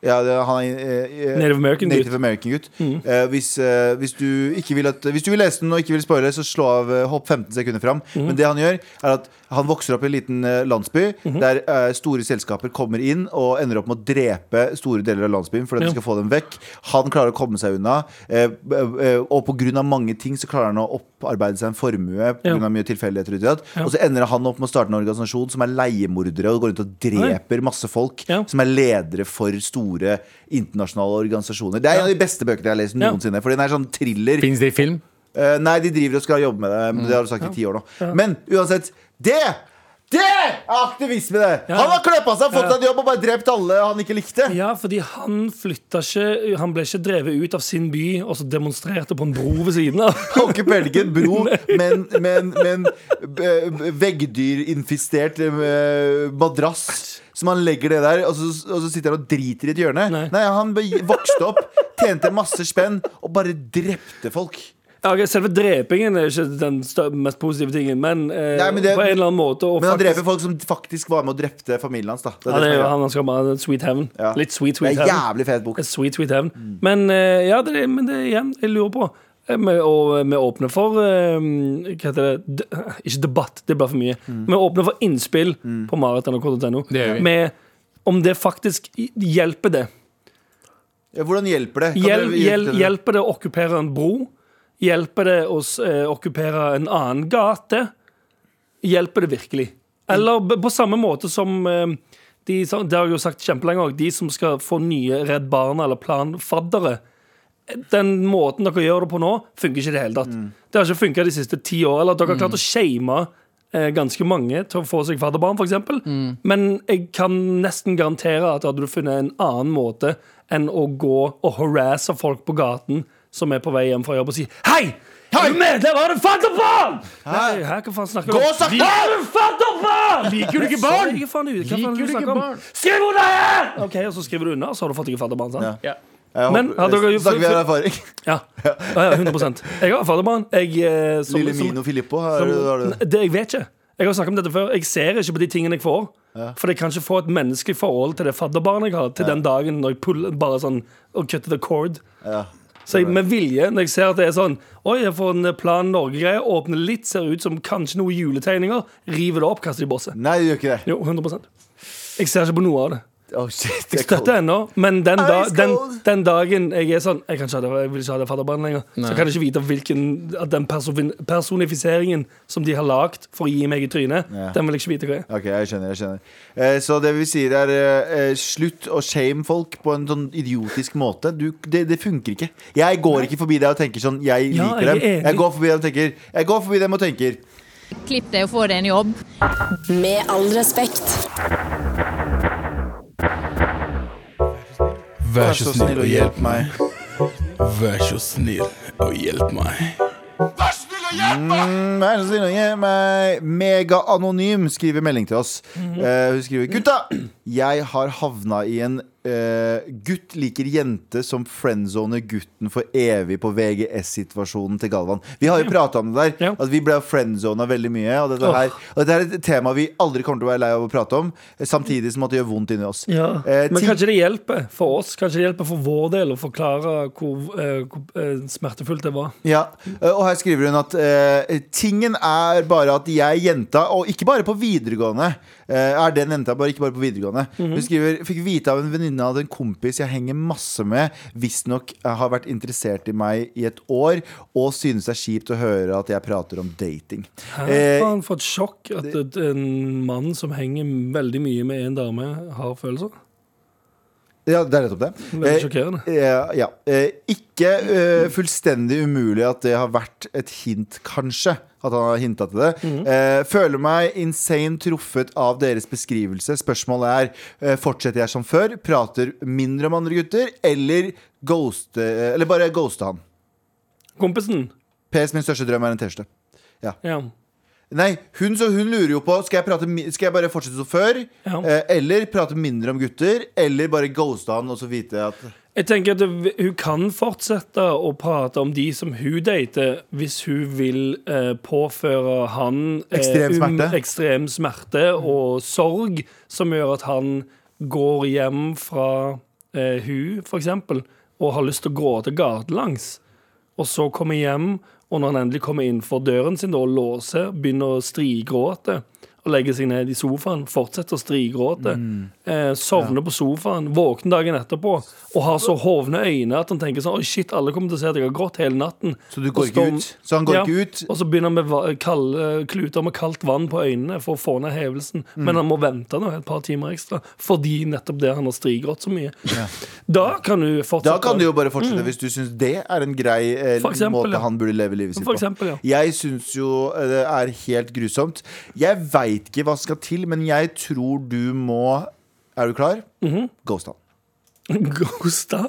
Ja, det, han er eh, eh, Native American Native gutt. American gutt. Eh, hvis, eh, hvis, du ikke vil at, hvis du vil lese den og ikke vil spoile, så slå av eh, hopp 15 sekunder fram. Mhm. Men det han gjør, er at han vokser opp i en liten eh, landsby Mhm. der eh, store selskaper kommer inn og ender opp med å drepe store deler av landsbyen fordi Ja. de skal få dem vekk. Han klarer å komme seg unna, eh, b- eh, og pga. mange ting så klarer han å opparbeide seg en formue pga. Ja. av mye tilfeldigheter. uti alt. Og så ender han opp med å starte en organisasjon som er leiemordere og går rundt og dreper masse folk Ja. som er ledere for store internasjonale organisasjoner. Det er en av de beste bøkene jeg har lest noensinne. For den er sånn thriller. Fins det i film? Eh, nei, de driver og skal jobbe med det. Men det har du sagt i ti år nå. Men uansett. Det Det er aktivisme, det! Ja. Han har kløppa seg, fått seg en jobb og bare drept alle han ikke likte. Ja, fordi han flytta ikke Han ble ikke drevet ut av sin by og så demonstrerte på en bro ved siden av. Kan ikke velge en bro med en- med en- med en b- b- veggdyrinfestert eh, madrass. Som han legger det der, og så, og så sitter han og driter i et hjørne. Nei, Nei. Han be- vokste opp, tjente masse spenn og bare drepte folk. Ja, ok, Selve drepingen er ikke den stør- mest positive tingen, men, eh, Nei, men det- på en eller annen måte å Men han faktisk- dreper folk som faktisk var med og drepte familien hans. Da. Det, ja, det er jo som han han skal bare Sweet Heaven. Ja. Litt Sweet er, Sweet det er Heaven. jævlig fet bok. En Sweet Sweet Heaven. Men eh, ja, det er, men det er igjen, jeg lurer på Eh, vi- Og vi åpner for eh, Hva heter det? De, ikke debatt, det blir for mye. Mm. Vi åpner for innspill på marit.nrk.no Det gjør vi. med om det faktisk i- hjelper det. Ja, hvordan hjelper det? Kan Hjel, dere hjel, hjelpe det? hjelper det å okkupere en bro? Hjelper det å s- eh, okkupere en annen gate? Hjelper det virkelig? Eller b- på samme måte som eh, de, som- Det har jeg jo sagt kjempelenge òg. De som skal få nye Redd Barna eller Plan Faddere. Den måten dere gjør det på nå, funker ikke i det hele tatt. Det har ikke funka de siste ti åra. Eller at dere har klart å shame eh, ganske mange til å få seg fadderbarn, f.eks. eksempel Men jeg kan nesten garantere at hadde du funnet en annen måte enn å gå og harasse folk på gaten som er på vei hjem fra jobb, og si Hei! Er du medlem av en fadderbarn? Nei, hæ, hva faen snakker du Gå om? og snakk- Vi er en fadderbarn! Liker du ikke barn? Hva faen er det Liker du du ikke snakker om? barn? Skriv under her! Ok, og så skriver du unna, og så har du fått ikke fadderbarn, sant? Ja. Ja. Jeg Men håper- hadde dere gjort- Snakker vi av erfaring? Ja, ja, ja 100 Jeg har fadderbarn. Jeg, eh, som- Lille som- Mino Filippo? Har, som- har du Nei, det, jeg vet ikke. Jeg har snakket om dette før. Jeg ser ikke på de tingene jeg får. For jeg kan ikke få et menneskelig forhold til det fadderbarnet jeg har, til den dagen når jeg puller bare sånn og cutter the cord. Ja. Så jeg, med vilje, når jeg ser at det er sånn Oi, jeg får en Plan Norge-greie, åpner litt, ser ut som kanskje noen juletegninger, river det opp, kaster det i bosset. Nei, du gjør ikke det. Jo, 100 Jeg ser ikke på noe av det. Oh, shit, Jeg det er støtter ennå, men den, da, Ice den, cold. den dagen jeg er sånn Jeg, kan ikke ha det, jeg vil ikke ha det fadderbarnet lenger. Så kan jeg ikke vite hvilken at den person, personifiseringen som de har lagd for å gi meg i trynet, Ja. den vil jeg ikke vite hva er. Ok, jeg skjønner, jeg skjønner eh, Så det vi sier er eh, eh, Slutt å shame folk på en sånn idiotisk måte du, det, det funker ikke Jeg går ikke forbi deg og tenker sånn Jeg Ja, liker jeg er dem enig. Jeg går forbi dem og tenker Jeg går forbi dem og tenker Klipp deg og få deg en jobb. Med all respekt. Vær så snill og hjelp meg. Vær så snill og hjelp meg. Mm, Vær så snill og hjelp meg Mega anonym skriver melding til oss Mhm. eh, Hun skriver Gutta, jeg har havna i en eh, Gutt liker jente som friendzone gutten for evig På VGS-situasjonen til Galvan Vi har jo pratet om det der Ja. At vi ble friendzona veldig mye Og dette, Åh. her, og dette her er et tema vi aldri kommer til å være lei av å prate om eh, Samtidig som at det gjør vondt inni oss Eh, Men ting- kanskje det hjelper for oss? Kanskje det hjelper for vår del å forklare hvor, eh, hvor eh, smertefullt det var? Ja, og her skriver hun at eh, Tingen er bare at jeg jenta Og ikke bare på videregående eh, Er den jenta, bare ikke bare på videregående Hun skriver, fikk vite av en venninne av en kompis Jeg henger masse med Hvis nok har vært interessert i meg i et år Og synes det er kjipt å høre At jeg prater om dating Hæ, Eh, faen, for et sjokk at et- en mann som henger veldig mye med en dame, har følelser. Eh, Ja, det er nettopp det Veldig Eh, sjokkerende. Eh, ja. Eh, ikke eh, fullstendig umulig at det har vært et hint, kanskje. At han har hinta til det. Mhm. Eh, føler meg insane truffet av deres beskrivelse. Spørsmålet er eh, fortsetter jeg som før, prater mindre om andre gutter, eller, ghoste, eh, eller bare ghoste han. Kompisen. PS min største drøm er en T-skjorte. Ja. Nei, hun, så hun lurer jo på Skal jeg, prate, mi- skal jeg bare fortsette som før, Ja. eh, eller prate mindre om gutter, eller bare ghoste han og så vite at Jeg tenker at det- Hun kan fortsette å prate om de som hun dater, hvis hun vil eh, påføre han eh, Ekstrem smerte. ekstrem smerte og sorg, som gjør at han går hjem fra eh, hun, for eksempel, og har lyst til å gråte gatelangs. Og så kommer hjem, og når han endelig kommer innenfor døren sin da, og låser, begynner å strigråte. Og legger seg ned i sofaen, fortsetter å strigråte. Mm. Eh, sovner på sofaen, våkner dagen etterpå og har så hovne øyne at han tenker sånn Oi, shit, alle kommer til å se at jeg har grått hele natten. Så du Og går står- ikke ut? Så han går Ja. ikke ut? Og så begynner han med va- kalde kluter med kaldt vann på øynene for å få ned hevelsen. Men Mm. han må vente nå et par timer ekstra fordi nettopp det han har strigrått så mye. Da kan du fortsette. Da kan du jo bare fortsette hvis du syns det er en grei eh, For eksempel, måte ja. han burde leve livet sitt For eksempel, ja. på. Jeg syns jo eh, det er helt grusomt. Jeg veit veit ikke hva som skal til, men jeg tror du må Er du klar? Mhm. Ghost han. Ghosta?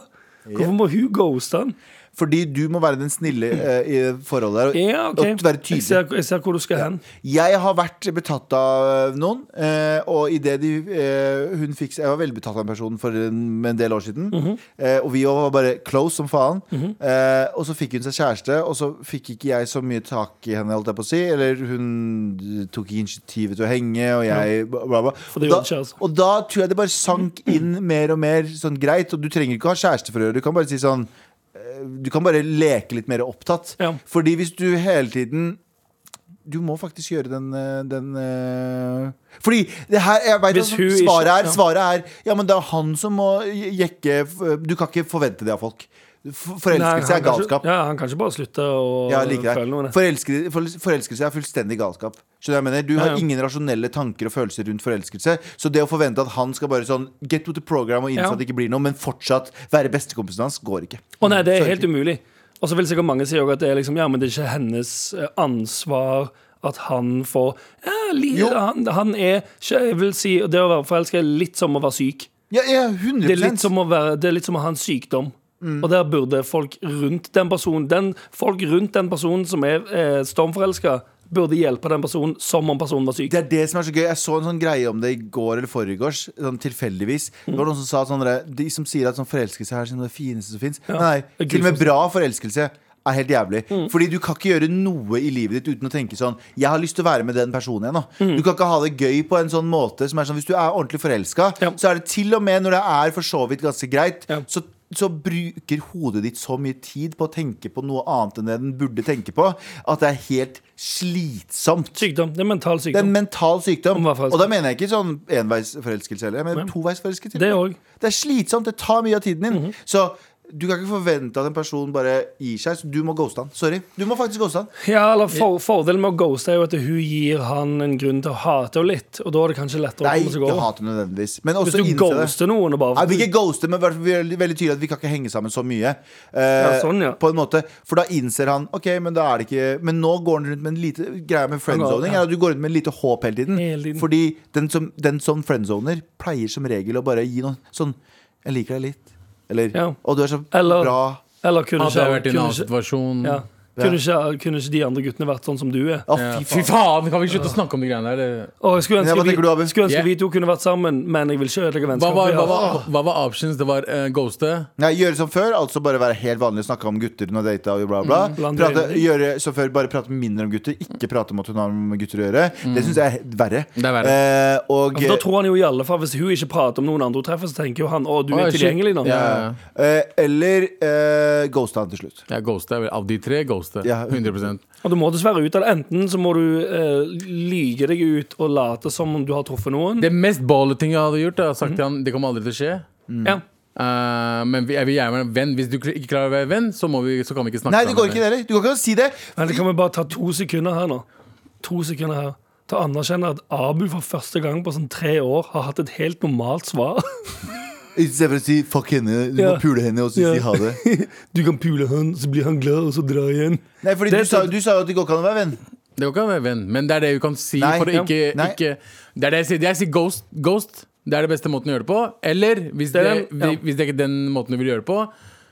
Hvorfor må hun ghoste han? Fordi du må være den snille eh, i forholdet der. Ja, ok. Og være Jeg tydelig. ser, jeg ser hvor du skal hen. Jeg har vært betatt av noen, eh, og i det de, eh, hun fikk Jeg var veldig betatt av en person for en, en del år siden. eh, og vi var bare close som faen. eh, og så fikk hun seg kjæreste, og så fikk ikke jeg så mye tak i henne, holdt jeg på å si. Eller hun tok ikke initiativet til å henge, og jeg bla, bla, bla. det Og da- gjorde kjæresten. og da tror jeg det bare sank inn mer og mer sånn greit. Og du trenger ikke ha kjæreste for å gjøre det. Du kan bare si sånn eh, Du kan bare leke litt mer opptatt. Ja. Fordi hvis du hele tiden Du må faktisk gjøre den, eh, den eh, Fordi det her jeg vet, Hvis at hun svaret, ikke- er, ja. svaret er Ja, men det er han som må jekke Du kan ikke forvente det av folk. For- Forelskelse er han kan ikke- galskap. Ja, han kan ikke bare slutte å Ja, jeg liker føle noe. deg. Forelskelse, for- forelskelse er fullstendig galskap. Skjønner du hva jeg mener? Du Ja, har ja. ingen rasjonelle tanker og følelser rundt forelskelse. Så det å forvente at han skal bare sånn get with the program og innse Ja. at det ikke blir noe, men fortsatt være bestekompisen hans, går ikke. Å nei, det er Sorry. helt umulig. Og så vil sikkert mange si også at det er liksom, ja, men det er ikke hennes eh, ansvar at han får ja, li, Jo. han, han er ikke, Jeg vil si det å være forelska er litt som å være syk. Ja, ja 100 Det er litt som å, være, det er litt som å ha en sykdom. Mm. Og der burde folk rundt den personen den, Folk rundt den personen som er eh, stormforelska, burde hjelpe den personen som om personen var syk. Det er det som er så gøy. Jeg så en sånn greie om det i går eller forgårs. Sånn tilfeldigvis. Det var noen som sa sånn der, De som sier at sånn forelskelse er som det fineste som fins. Nei, til og med bra forelskelse er helt jævlig. Mm. Fordi du kan ikke gjøre noe i livet ditt uten å tenke sånn Jeg har lyst til å være med den personen igjen. da. Mm. Du kan ikke ha det gøy på en sånn måte som er sånn Hvis du er ordentlig forelska, Ja. så er det til og med når det er for så vidt ganske greit, Ja. så så bruker hodet ditt så mye tid på å tenke på noe annet enn det den burde tenke på, at det er helt slitsomt. Sykdom. Det er mental Det er en sykdom. mental sykdom. Om hva forelskelse. Og da mener jeg ikke sånn enveisforelskelse heller. Jeg mener toveisforelskelse. Det Mhm. òg. Det er slitsomt. Det tar mye av tiden din. Så du kan ikke forvente at en person bare gir seg. Så du må ghoste han. Sorry. Du må faktisk ghoste han. Ja, eller for, Fordelen med å ghoste er jo at hun gir han en grunn til å hate henne litt. Og da er det kanskje lettere Nei, å komme seg ikke over. hate nødvendigvis. Men Hvis også du innse det. ghoster noen og bare Nei, vi ikke ghoste, men hvert fall vi er veldig tydelig at vi kan ikke henge sammen så mye. Eh, sånn, ja. På en måte For da innser han Ok, men da er det ikke Men nå går han rundt med en lite greie med friendzoning. Ja. Er at du går rundt med en lite håp hele tiden. Hele tiden. Fordi den som, den som friendzoner, pleier som regel å bare gi noen sånn Jeg liker deg litt. Eller Ja. Og du er så Eller- bra. Eller kunne ikke, Hadde jeg vært i en kunne annen ikke, situasjon ja. kunne, ikke, kunne ikke de andre guttene vært sånn som du er? Å, Ja, fy Fy faen. faen, kan vi ikke slutte å snakke om de greiene der? eller? Å, jeg Men skulle ønske, hva vi, tenker du, Abu? skulle ønske Jeg- vi to kunne vært sammen, men jeg vil ikke ødelegge Hva var, vennskapet. vi hva, har. var, hva var options? Det var eh, ghoste. Nei, gjøre som før, altså bare være helt vanlig, snakke om gutter hun har data og bla, bla. Mm, blant prate, øyne. gjøre som før, bare prate mindre om gutter, ikke prate om at hun har med gutter å gjøre. Det syns jeg er verre. Mm. Det er verre. Altså, Eh, og, For Altså, Da tror han jo i alle fall Hvis hun ikke prater om noen andre hun treffer, så tenker jo han å, du Å, er shit. tilgjengelig nå. Ja, ja, ja. Eh, eller eh, ghosta han til slutt. Ja, ghoste er vel Av de tre, ghoste. Ja. 100 Og du må dessverre ut av det. Enten så må du eh, lyge deg ut og late som om du har truffet noen. Det mest balleting jeg hadde gjort, jeg hadde sagt til Mhm. han det kommer aldri til å skje. Ja. Eh, men vi- jeg vil gjerne være en venn. Hvis du ikke klarer å være venn, så, må vi, så kan vi ikke snakke Nei, det går sammen. ikke, det heller. Du kan ikke si det. Men det kan vi bare ta to sekunder her nå. To sekunder her Til å anerkjenne at Abu for første gang på sånn tre år har hatt et helt normalt svar. Istedenfor å si fuck henne, du Ja. må pule henne og så Ja. si ha det. Du kan pule han, så blir han glad, og så dra igjen. Nei, fordi Det du sa, er- du sa jo at det går ikke an å være venn. Det går ikke an å være venn, men det er det du kan si Nei, for å ja. ikke, Nei. ikke Det er det jeg sier. Jeg sier ghost. ghost. Det er det beste måten å gjøre det på. Eller hvis det, Det er den, ja. hvis det ikke er den måten du vil gjøre det på,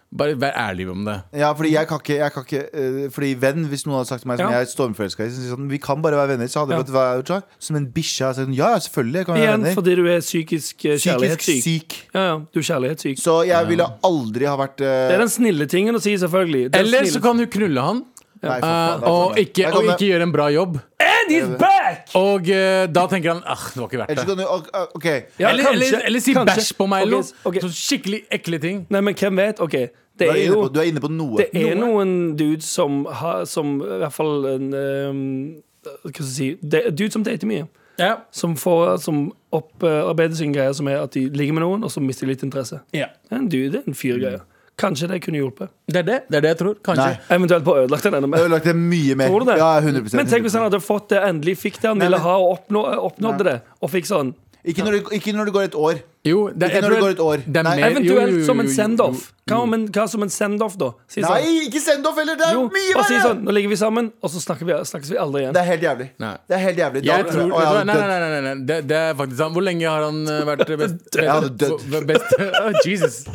bare vær ærlig om det. Ja, fordi jeg kan ikke, jeg kan ikke eh, Fordi venn, hvis noen hadde sagt til meg som Ja. jeg er stormforelska i, så sier jeg sånn, vi kan bare være venner, så hadde det vært hva jeg hadde sagt. Som en bikkje. jeg hadde sagt, Ja, ja, selvfølgelig jeg kan vi være Igjen venner. fordi du er psykisk eh, Psykisk kjærlighetssyk. syk. Ja, ja, du er kjærlighetssyk. Så jeg ville aldri ha vært eh, Det er den snille tingen å si, selvfølgelig. Den Eller så snille- kan du knulle han, nei, for eh, faen, det er og, sånn. ikke, Jeg kan og det. ikke gjøre en bra jobb. And he's back! Og eh, da tenker han ah, det var ikke Ellers kan verdt det. du ok, Ok. Ja, eller, kanskje, eller, eller si kanskje. bæsj på meg eller Ok, noe. ok. Sånn skikkelig ekle ting. Nei, men hvem vet? Ok, Du det er er inne jo på, du er inne på noe. Det er noen dudes som har Som i hvert fall en, ehm, Hva skal jeg si de- Dudes som dater mye. Ja. Som, får, som opparbeider sin greie, som er at de ligger med noen, og så mister de litt interesse. Det er En dude, det er en fyrgreie. Kanskje det kunne hjulpet. Det er det, det er det jeg tror. Kanskje. Nei. Eventuelt på ødelagt den enda Jeg mer. ville lagt det mye mer. Tror du det? Ja, 100 Men tenk hvis han hadde fått det, endelig fikk det han Nei, ville men- ha, og oppnå, oppnådde det, og fikk sånn Ikke når, det, ikke når det går et år. Jo, det, Ikke når det går et år. det er Nei. mer- Eh, jo, jo, jo, Eventuelt som en jo, send-off. jo, Hva, jo. om en- hva som en send-off, da? Si sånn, Nei, ikke send off heller! Det er jo, mye og si verre! sånn, nå ligger vi sammen, og så snakker vi, snakkes vi aldri igjen. Det er helt jævlig. Nei. Det er helt jævlig. Da Jeg tror jeg- Å, jeg tror, nei, hadde nei, dødd. nei, nei, nei, nei. Det, det er faktisk sant. Hvor lenge har han eh, vært best, Jeg hadde dødd. b- best Å, Jesus.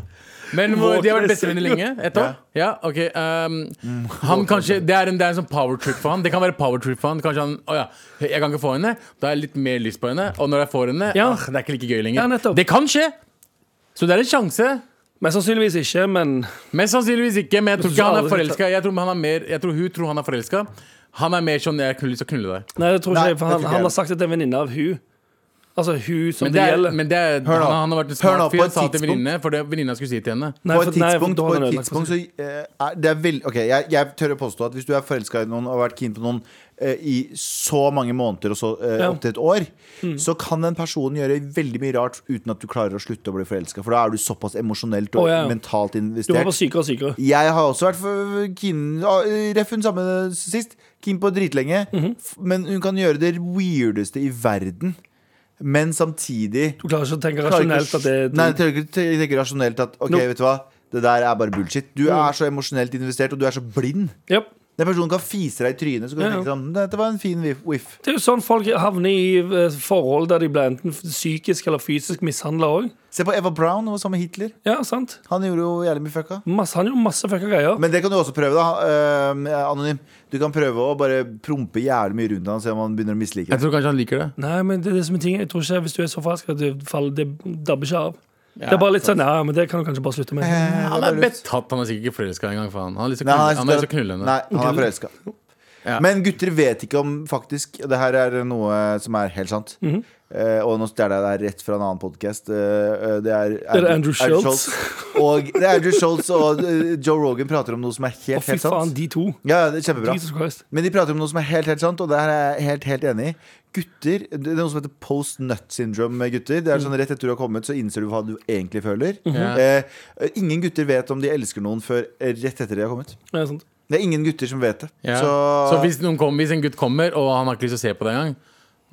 Men hvor- de har vært bestevenner lenge? Ett år? Ja, ok ehm, han kanskje, det, er en, det er en sånn power trip for han Det kan være power trip for han Kanskje han Å ja, jeg kan ikke få henne. Da har jeg litt mer lyst på henne. Og når jeg får henne, Ja. ah, det er ikke like gøy Ja, lenger. nettopp. det kan skje! Så det er en sjanse. Men sannsynligvis ikke, men Mest sannsynligvis ikke, men jeg tror ikke han er Aldri- forelska. Jeg, tror han er mer- jeg tror hun tror han er forelska. Han er mer sånn 'jeg har lyst til å knulle deg'. Nei, det tror ikke Nei, jeg, for det han, tror ikke jeg. han har sagt at det er en venninne av hun Altså hun som det, Men det er, gjelder. men det er Hør nå. han, han har vært en Hør nå, smart fyr. på Han et sa til tidspunkt- venninne, for det venninna skulle si til henne. Nei, På for- et nei, for tidspunkt, da på har han et ødelagt tidspunkt for så eh, er, Det er veldig Ok, jeg, jeg tør å påstå at hvis du er forelska i noen og har vært keen på noen eh, i så mange måneder og så eh, Ja. Mm. opptil et år, så kan den personen gjøre veldig mye rart uten at du klarer å slutte å bli forelska. For da er du såpass emosjonelt og Å, ja. mentalt Du var investert. bare sykere og sykere. Jeg har også vært for- keen ah, Ref hun samme sist. Keen på dritlenge. Mhm. f- Men hun kan gjøre det weirdeste i verden. Men samtidig Du klarer ikke å tenke klarer ikke å rasjonelt at det sk- Nei, jeg tenker, jeg tenker rasjonelt at OK, No. vet du hva, det der er bare bullshit. Du Mm. er så emosjonelt investert, og du er så blind. Japp. Den personen kan fise deg i trynet, så kan du Ja, ja. tenke sånn Dette var en fin whiff- whiff. Det er jo sånn folk havner i eh, forhold der de blir enten psykisk eller fysisk mishandla òg. Se på Eva Brown, hun var sammen med Hitler. Ja, sant? Han gjorde jo jævlig mye fucka. Masse, han gjorde masse fucka greier. Men det kan du også prøve, da. eh, anonym. Du kan prøve å bare prompe jævlig mye rundt han, se om han begynner å mislike Jeg det. tror kanskje han liker det. Nei, men det er det som er ting. Jeg tror ikke Hvis du er så forelska, det, faller- det dabber ikke av. det er bare litt sånn Ja, men det kan du kanskje bare slutte med. Eh, Han det er bare lurt. betatt, han er sikkert ikke forelska engang. faen. Han har lyst til å Nei, knulle- han har lyst til å knulle henne. Nei, han er forelska. Ja. Men gutter vet ikke om faktisk Det her er noe som er helt sant. Mhm. Eh, og nå stjeler jeg det her rett fra en annen podkast. det er det Andrew Schultz? og det er Andrew Schultz og eh, Joe Rogan prater om noe som er helt, Å, fy helt faen, sant. de to. Ja, det er kjempebra. Jesus Christ. Men de prater om noe som er helt, helt sant, og det her er jeg helt, helt enig i. Gutter, Det er noe som heter post nut syndrome med gutter. Det er Mm. sånn Rett etter du har kommet, så innser du hva du egentlig føler. Mhm. Ja. eh, ingen gutter vet om de elsker noen før eh, rett etter de har kommet. Ja, sant. Det er ingen gutter som vet det. Ja. Så, Så, hvis, noen kom, hvis en gutt kommer, og han har ikke lyst til å se på deg engang,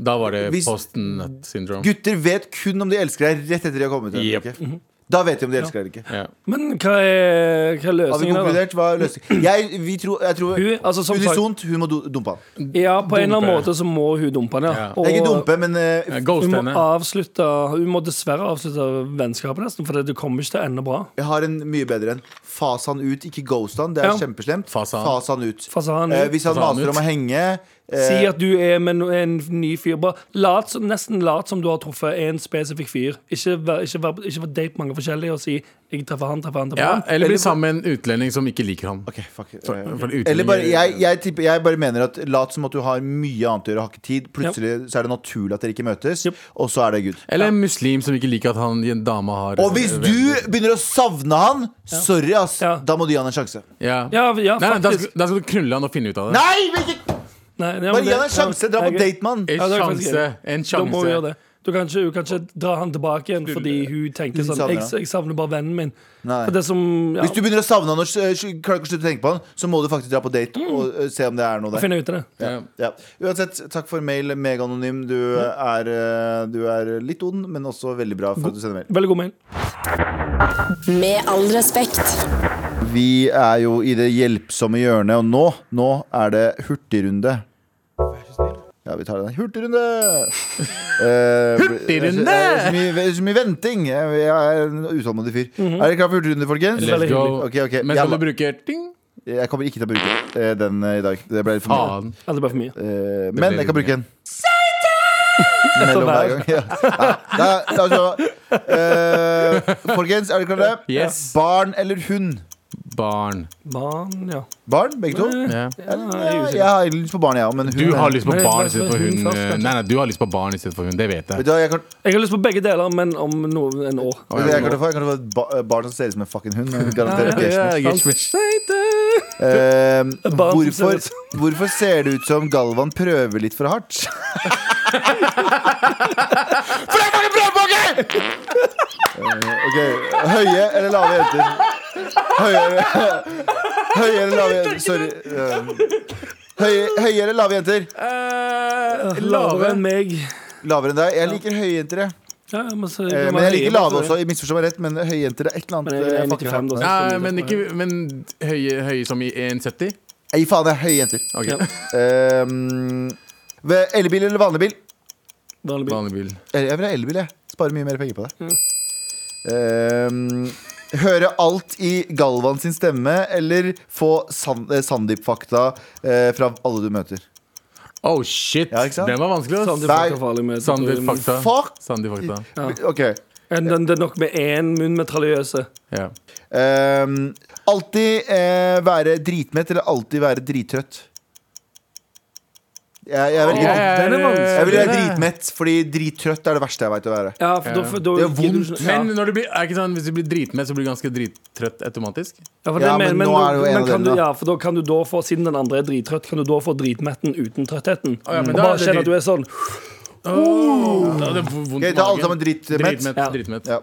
da var det Hvis- post-nut syndrome. gutter vet kun om de elsker deg rett etter de har kommet. eller Jep. ikke. Da vet de om de elsker deg eller ikke. Ja. Men hva er, hva Har vi er løsningen her, da? konkludert? Hva er løsningen? Jeg, vi tror, jeg tror Hun, altså, som sagt- Unisont, hun må du- dumpe han. Ja, på en eller annen Dumpe. måte så må hun dumpe han, ja. Ja. Og Ikke dumpe, men eh, Ja, hun Ghost må henne. avslutte Hun må dessverre avslutte vennskapet, nesten, for det kommer ikke til å ende bra. jeg har en mye bedre en. Fas han ut, ikke ghost han. Det er Ja. kjempeslemt. Fas han. Fas han ut. Fasan, Eh, hvis han Fas han maser ut. om å henge eh, altså, si at du er med no- en ny fyr. Bare lat, som- nesten lat som du har truffet en spesifikk fyr. Ikke, vær- ikke, vær- ikke vær- date mange forskjellige og si 'jeg treffer han, treffer han'. treffer Ja, han eller bli sammen med en utlending som ikke liker ham. Ok, fuck it. Eh, For utlending- Eller bare, jeg, jeg, tipper, jeg bare mener at lat som at du har mye annet å gjøre, har ikke tid. Plutselig så er det naturlig at dere ikke møtes, Yep. og så er det good. Eller en muslim som ikke liker at han en dame har Og hvis du begynner å savne han, sorry, ass. Ja. Da må du gi han en sjanse. Ja, Ja, ja, Nei, nei, da, faktisk. skal, da skal du knulle han og finne ut av det. Nei! men ikke- Nei, ja, men Bare gi det- han en sjanse. ja, Dra på jeg- date med han. En Ja, det er Eh, faktisk sjanse. gøy. En Da må hun gjøre sjanse. det. Du kan, ikke, du kan ikke dra han tilbake igjen fordi hun tenker Hun sånn jeg, savner han. 'Jeg savner bare vennen min'. Nei. For det som ja, Hvis du begynner å savne han og eh, klarer ikke å slutte å tenke på han, så må du faktisk dra på date Mm. og eh, se om det er noe der. finner jeg ut av det. Ja. Ja. Uansett, takk for mail, megaanonym. Du er, eh, du er litt ond, men også veldig bra for at du sender mail. Veldig god mail. Med all respekt. Vi er jo i det hjelpsomme hjørnet, og nå, nå er det hurtigrunde. Ja, vi tar den. Hurtigrunde! Eh, Hurtigrunde! Det er så mye, det er så mye venting. Jeg er en utålmodig fyr. Er dere klare for hurtigrunde, folkens? Let's Mhm. Let's go. Ok, ok. Men skal Jalla. du bruke ting? Jeg kommer ikke til å bruke eh, den eh, i dag. Det ble litt for mye. Faen. Ja, det ble for mye. Eh, men jeg kan bruke en. Mellom Etter hver hver. gang. Ja. Da, da, da, eh, folkens, er dere klare? Yes. Barn eller hund? Barn. Barn, ja. Barn, begge to? Eh, Ja. Ja, jeg er jeg har egentlig lyst på barn, jeg ja, òg. Du har lyst på Nei, barn bare istedenfor hun hund. først, eh, kanskje. Nei, nei, du har lyst på barn istedenfor hund. Det vet jeg. Vet du hva, jeg kan Jeg har lyst på begge deler, men om noe, Vet en år. du hva jeg kan få? Jeg kan få et ba- barn som ser ut som en fucking hund. men Ja, Garantert ja, Gershmer. Satan. Eh, Et barn som ser hvorfor, ut hvorfor ser det ut som Galvan prøver litt for hardt? For jeg kan prøve på ikke! Eh, Ok, Høye eller lave jenter? Høye, høye eller lave jenter? Sorry. ehm. Eh, Høye, høye eller lave jenter? Lavere enn meg. Lavere enn deg. Jeg liker høye jenter, jeg. Ja, men, så, Eh, Men jeg liker lave også. Jeg misforstår meg rett, men høye jenter er et eller annet Men jeg eh, er jeg fucker 95, med. da. så Nei, jeg- men, ikke, men høye, høye som i 1,70? Nei, faen, det er høye jenter. Ok, Ja. Ehm, ved- Elbil eller vanlig bil? Vanlig bil. vanlig bil. Eh, Jeg vil ha elbil, jeg. Sparer mye mer penger på det. Mm. Ehm, høre alt i Galvan sin stemme, eller få San eh, Sandeep-fakta eh, fra alle du møter. Oh shit, Ja, ikke sant? den var vanskelig. ass. Sandeep Nei. er farlig med- Sandeep fakta. Fuck! Sandeep fakta. Ok. Men den- Det er nok med én munn metraljøse. Ja. Ehm, alltid eh, være dritmett, eller alltid være drittrøtt? Jeg, jeg velger Åh, drit- den er vanskelig. Jeg vil det være er- dritmett, fordi drittrøtt er det verste jeg veit å være. Ja, for da, for da Det er gidder du vondt. ikke- Men når du blir, er ikke sånn, hvis du blir dritmett, så blir du ganske drittrøtt automatisk? Ja, for Ja, det men men, men, nå er det jo en men av delene. kan du, ja, for da kan du da få Siden den andre er drittrøtt, kan du da få dritmetten uten trøttheten. Å, ja, men og da bare er det kjenne drit- at du er sånn Oh, ja, det er vondt Ok, i ta alle magen. sammen dritmett. Dritmett, Ja. dritmett. Ja.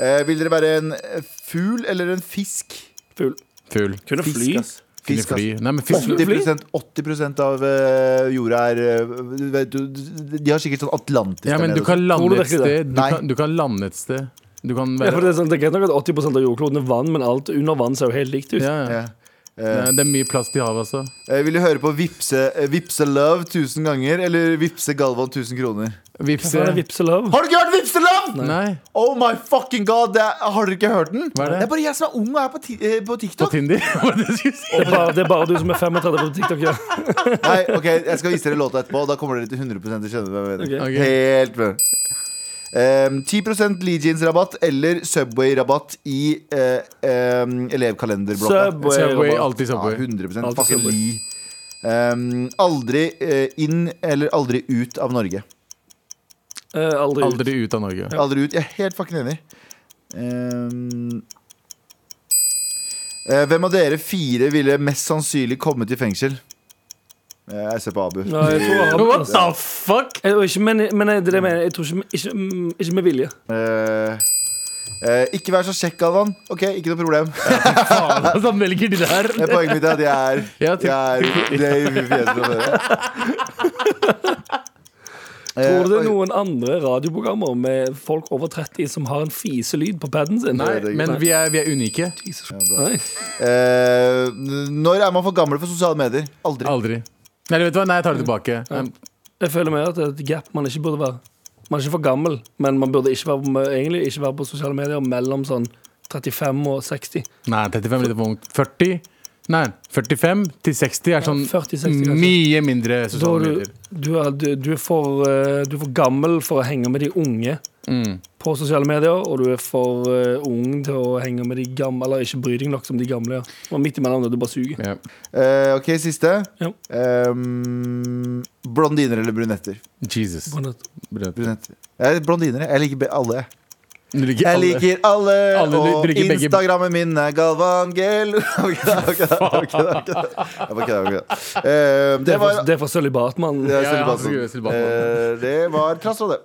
Eh, vil dere være en eh, fugl eller en fisk? Fugl. Full. Kunne Fisk, fly. ass. Kunne Fisk, ass. fly. Nei, men fisk 80, 80 av eh, jorda er eh, vet du, De har sikkert sånn Atlantis der Ja, men nede du og kan Tror du lande et virkelig det? sted. Du Nei. kan, du kan lande et sted. Du kan Ja, for være det er sånn, det er greit nok at 80 av jordkloden er vann, men alt under vann ser jo helt likt ut. ja, sånn. ja. Ja. Nei, Det er mye plass til havet, altså. Eh, vil du høre på Vipse, eh, Vipse Love 1000 ganger eller Vipse Galvan 1000 kroner? Så Vipse er det vipseløv. Har du ikke hørt Vipse Love?! Nei, Oh my fucking god! Det er, har dere ikke hørt den? Hva er det? er bare jeg som er ung og er på, ti, eh, på på TikTok. Tinder. Hva var det du skulle si? Og bare, det er bare du som er 35 på TikTok. Ja. Nei, ok, Jeg skal vise dere låta etterpå, og da kommer dere til 100 til å skjønne hvem jeg mener. Ok. Helt bra. Um, 10 Legions-rabatt eller Subway-rabatt i eh, em, elevkalenderblokka. Subway, Subway. alltid Ja, Subway. 100 Alt Fucking Subway. li. Um, aldri eh, inn eller aldri ut av Norge. Eh, aldri. ut. Aldri ut av Norge. Aldri ut. Jeg er helt fucking enig. Um, eh, hvem av dere fire ville mest sannsynlig kommet i fengsel? Eh, jeg ser på Abu. Nei, jeg tror altså. jeg har- What the fuck? Jeg- og ikke, men, men det er det jeg mener. Jeg tror ikke, ikke, mm, ikke med vilje. Eh, eh, ikke vær så kjekk, Galvan. Ok, ikke noe problem. Faen, altså, han velger de der. Eh, Poenget mitt er at jeg er, Ja, til- jeg er det er i fjeset på dere. Tror du det Eh, er noen andre radioprogrammer med folk over 30 som har en fiselyd på paden sin? Nei, det er men greit. vi er, vi er unike. Jesus. bra. Nei. Eh, når er man for gammel for sosiale medier? Aldri. Aldri. Nei, vet du hva? Nei, jeg tar det tilbake. Um, Jeg føler mer at det er et gap man ikke burde være. Man er ikke for gammel, men man burde ikke være, egentlig ikke være på sosiale medier mellom sånn 35 og 60. Nei, 35 er litt for ungt. 40 Nei, 45 til 60 er sånn 40-60 kanskje. mye mindre Da sosiale er du, medier. du, er, du, du, er for, eh, du er for gammel for å henge med de unge Mm. på sosiale medier, og du er for eh, ung til å henge med de gamle, eller ikke bry deg nok som de gamle. Ja. Og midt imellom det, du bare suger. Ja. Eh, ok, siste. Ja. Eh, Ehm, blondiner eller brunetter? Jesus. Brød. brunetter. Jeg er blondiner. jeg. Jeg liker be- alle. jeg. Du liker Jeg alle. liker alle, Alle og drikker begge- Instagrammen min er Galvan Gel. Ok, da, ok, da, ok, da, ok, da. Jeg bare kødder. jeg bare kødder. Eh, Det Det er for, var det er for sølibat, mann. det er Ja, Silje ja, han Bassen. skulle gjøre Silje Bassen. Eh, Det var trass av det.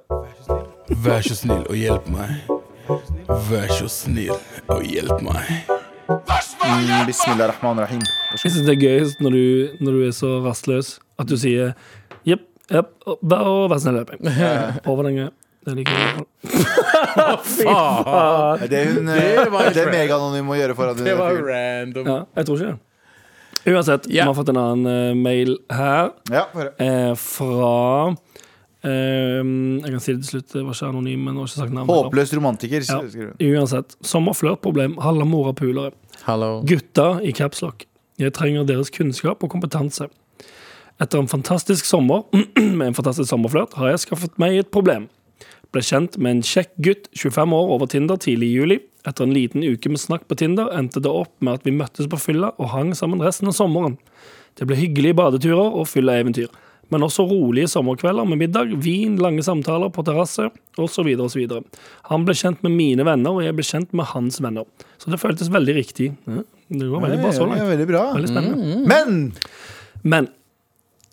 Vær så snill og hjelp meg. Vær så snill og hjelp meg. Mm, Bismillah rahman rahim. Jeg synes det er gøyest når du, når du er så rastløs at du sier jepp, jepp, og bare vær snill, hjelp meg. Over den greia. Det liker jeg. Faen, Det er, hun, eh, Det var det er meganonym å gjøre foran det var hun. random. Ja, jeg tror ikke det. Uansett, Ja. vi har fått en annen eh, mail her Ja, få høre. eh, fra eh, Jeg kan si det til slutt, det var ikke anonym, men jeg har ikke sagt navnet. Håpløs romantiker. Ja. skriver hun. Uansett. Sommerflørtproblem. Halla, mora pulere. Hallo. Gutta i capslock, jeg trenger deres kunnskap og kompetanse. Etter en fantastisk sommer med en fantastisk sommerflørt har jeg skaffet meg et problem. Ble kjent med en kjekk gutt, 25 år, over Tinder tidlig i juli. Etter en liten uke med snakk på Tinder endte det opp med at vi møttes på fylla og hang sammen resten av sommeren. Det ble hyggelige badeturer og fylla-eventyr, men også rolige sommerkvelder med middag, vin, lange samtaler på terrasse osv. osv. Han ble kjent med mine venner, og jeg ble kjent med hans venner. Så det føltes veldig riktig. Ja, Det går veldig bra så Det langt. er veldig bra. Veldig Mm. spennende. Men Men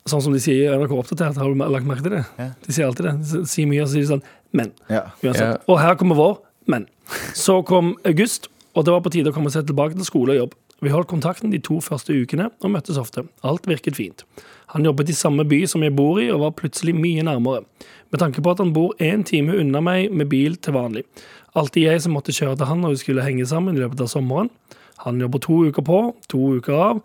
sånn som de sier i NRK Oppdatert, har du lagt merke til det? Ja. De sier alltid det. De sier mye og så sier de sånn Men. ja. Uansett. Og her kommer vår, men. Så kom august, og det var på tide å komme seg tilbake til skole og jobb. Vi holdt kontakten de to første ukene og møttes ofte. Alt virket fint. Han jobbet i samme by som jeg bor i, og var plutselig mye nærmere. Med tanke på at han bor én time unna meg med bil til vanlig. Alltid jeg som måtte kjøre til han når vi skulle henge sammen i løpet av sommeren. Han jobber to uker på, to uker av.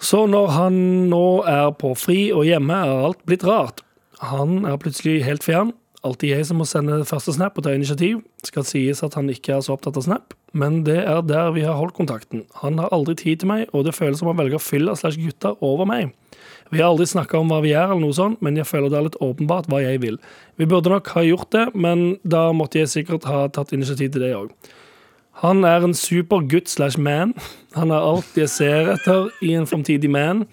Så når han nå er på fri og hjemme, er alt blitt rart. Han er plutselig helt fjern. Alltid jeg som må sende første snap og ta initiativ. Skal sies at han ikke er så opptatt av snap, men det er der vi har holdt kontakten. Han har aldri tid til meg, og det føles som han velger fylla slash gutta over meg. Vi har aldri snakka om hva vi er, eller noe sånt, men jeg føler det er litt åpenbart hva jeg vil. Vi burde nok ha gjort det, men da måtte jeg sikkert ha tatt initiativ til det òg. Han er en super gutt slash man. Han er alt jeg ser etter i en framtidig man,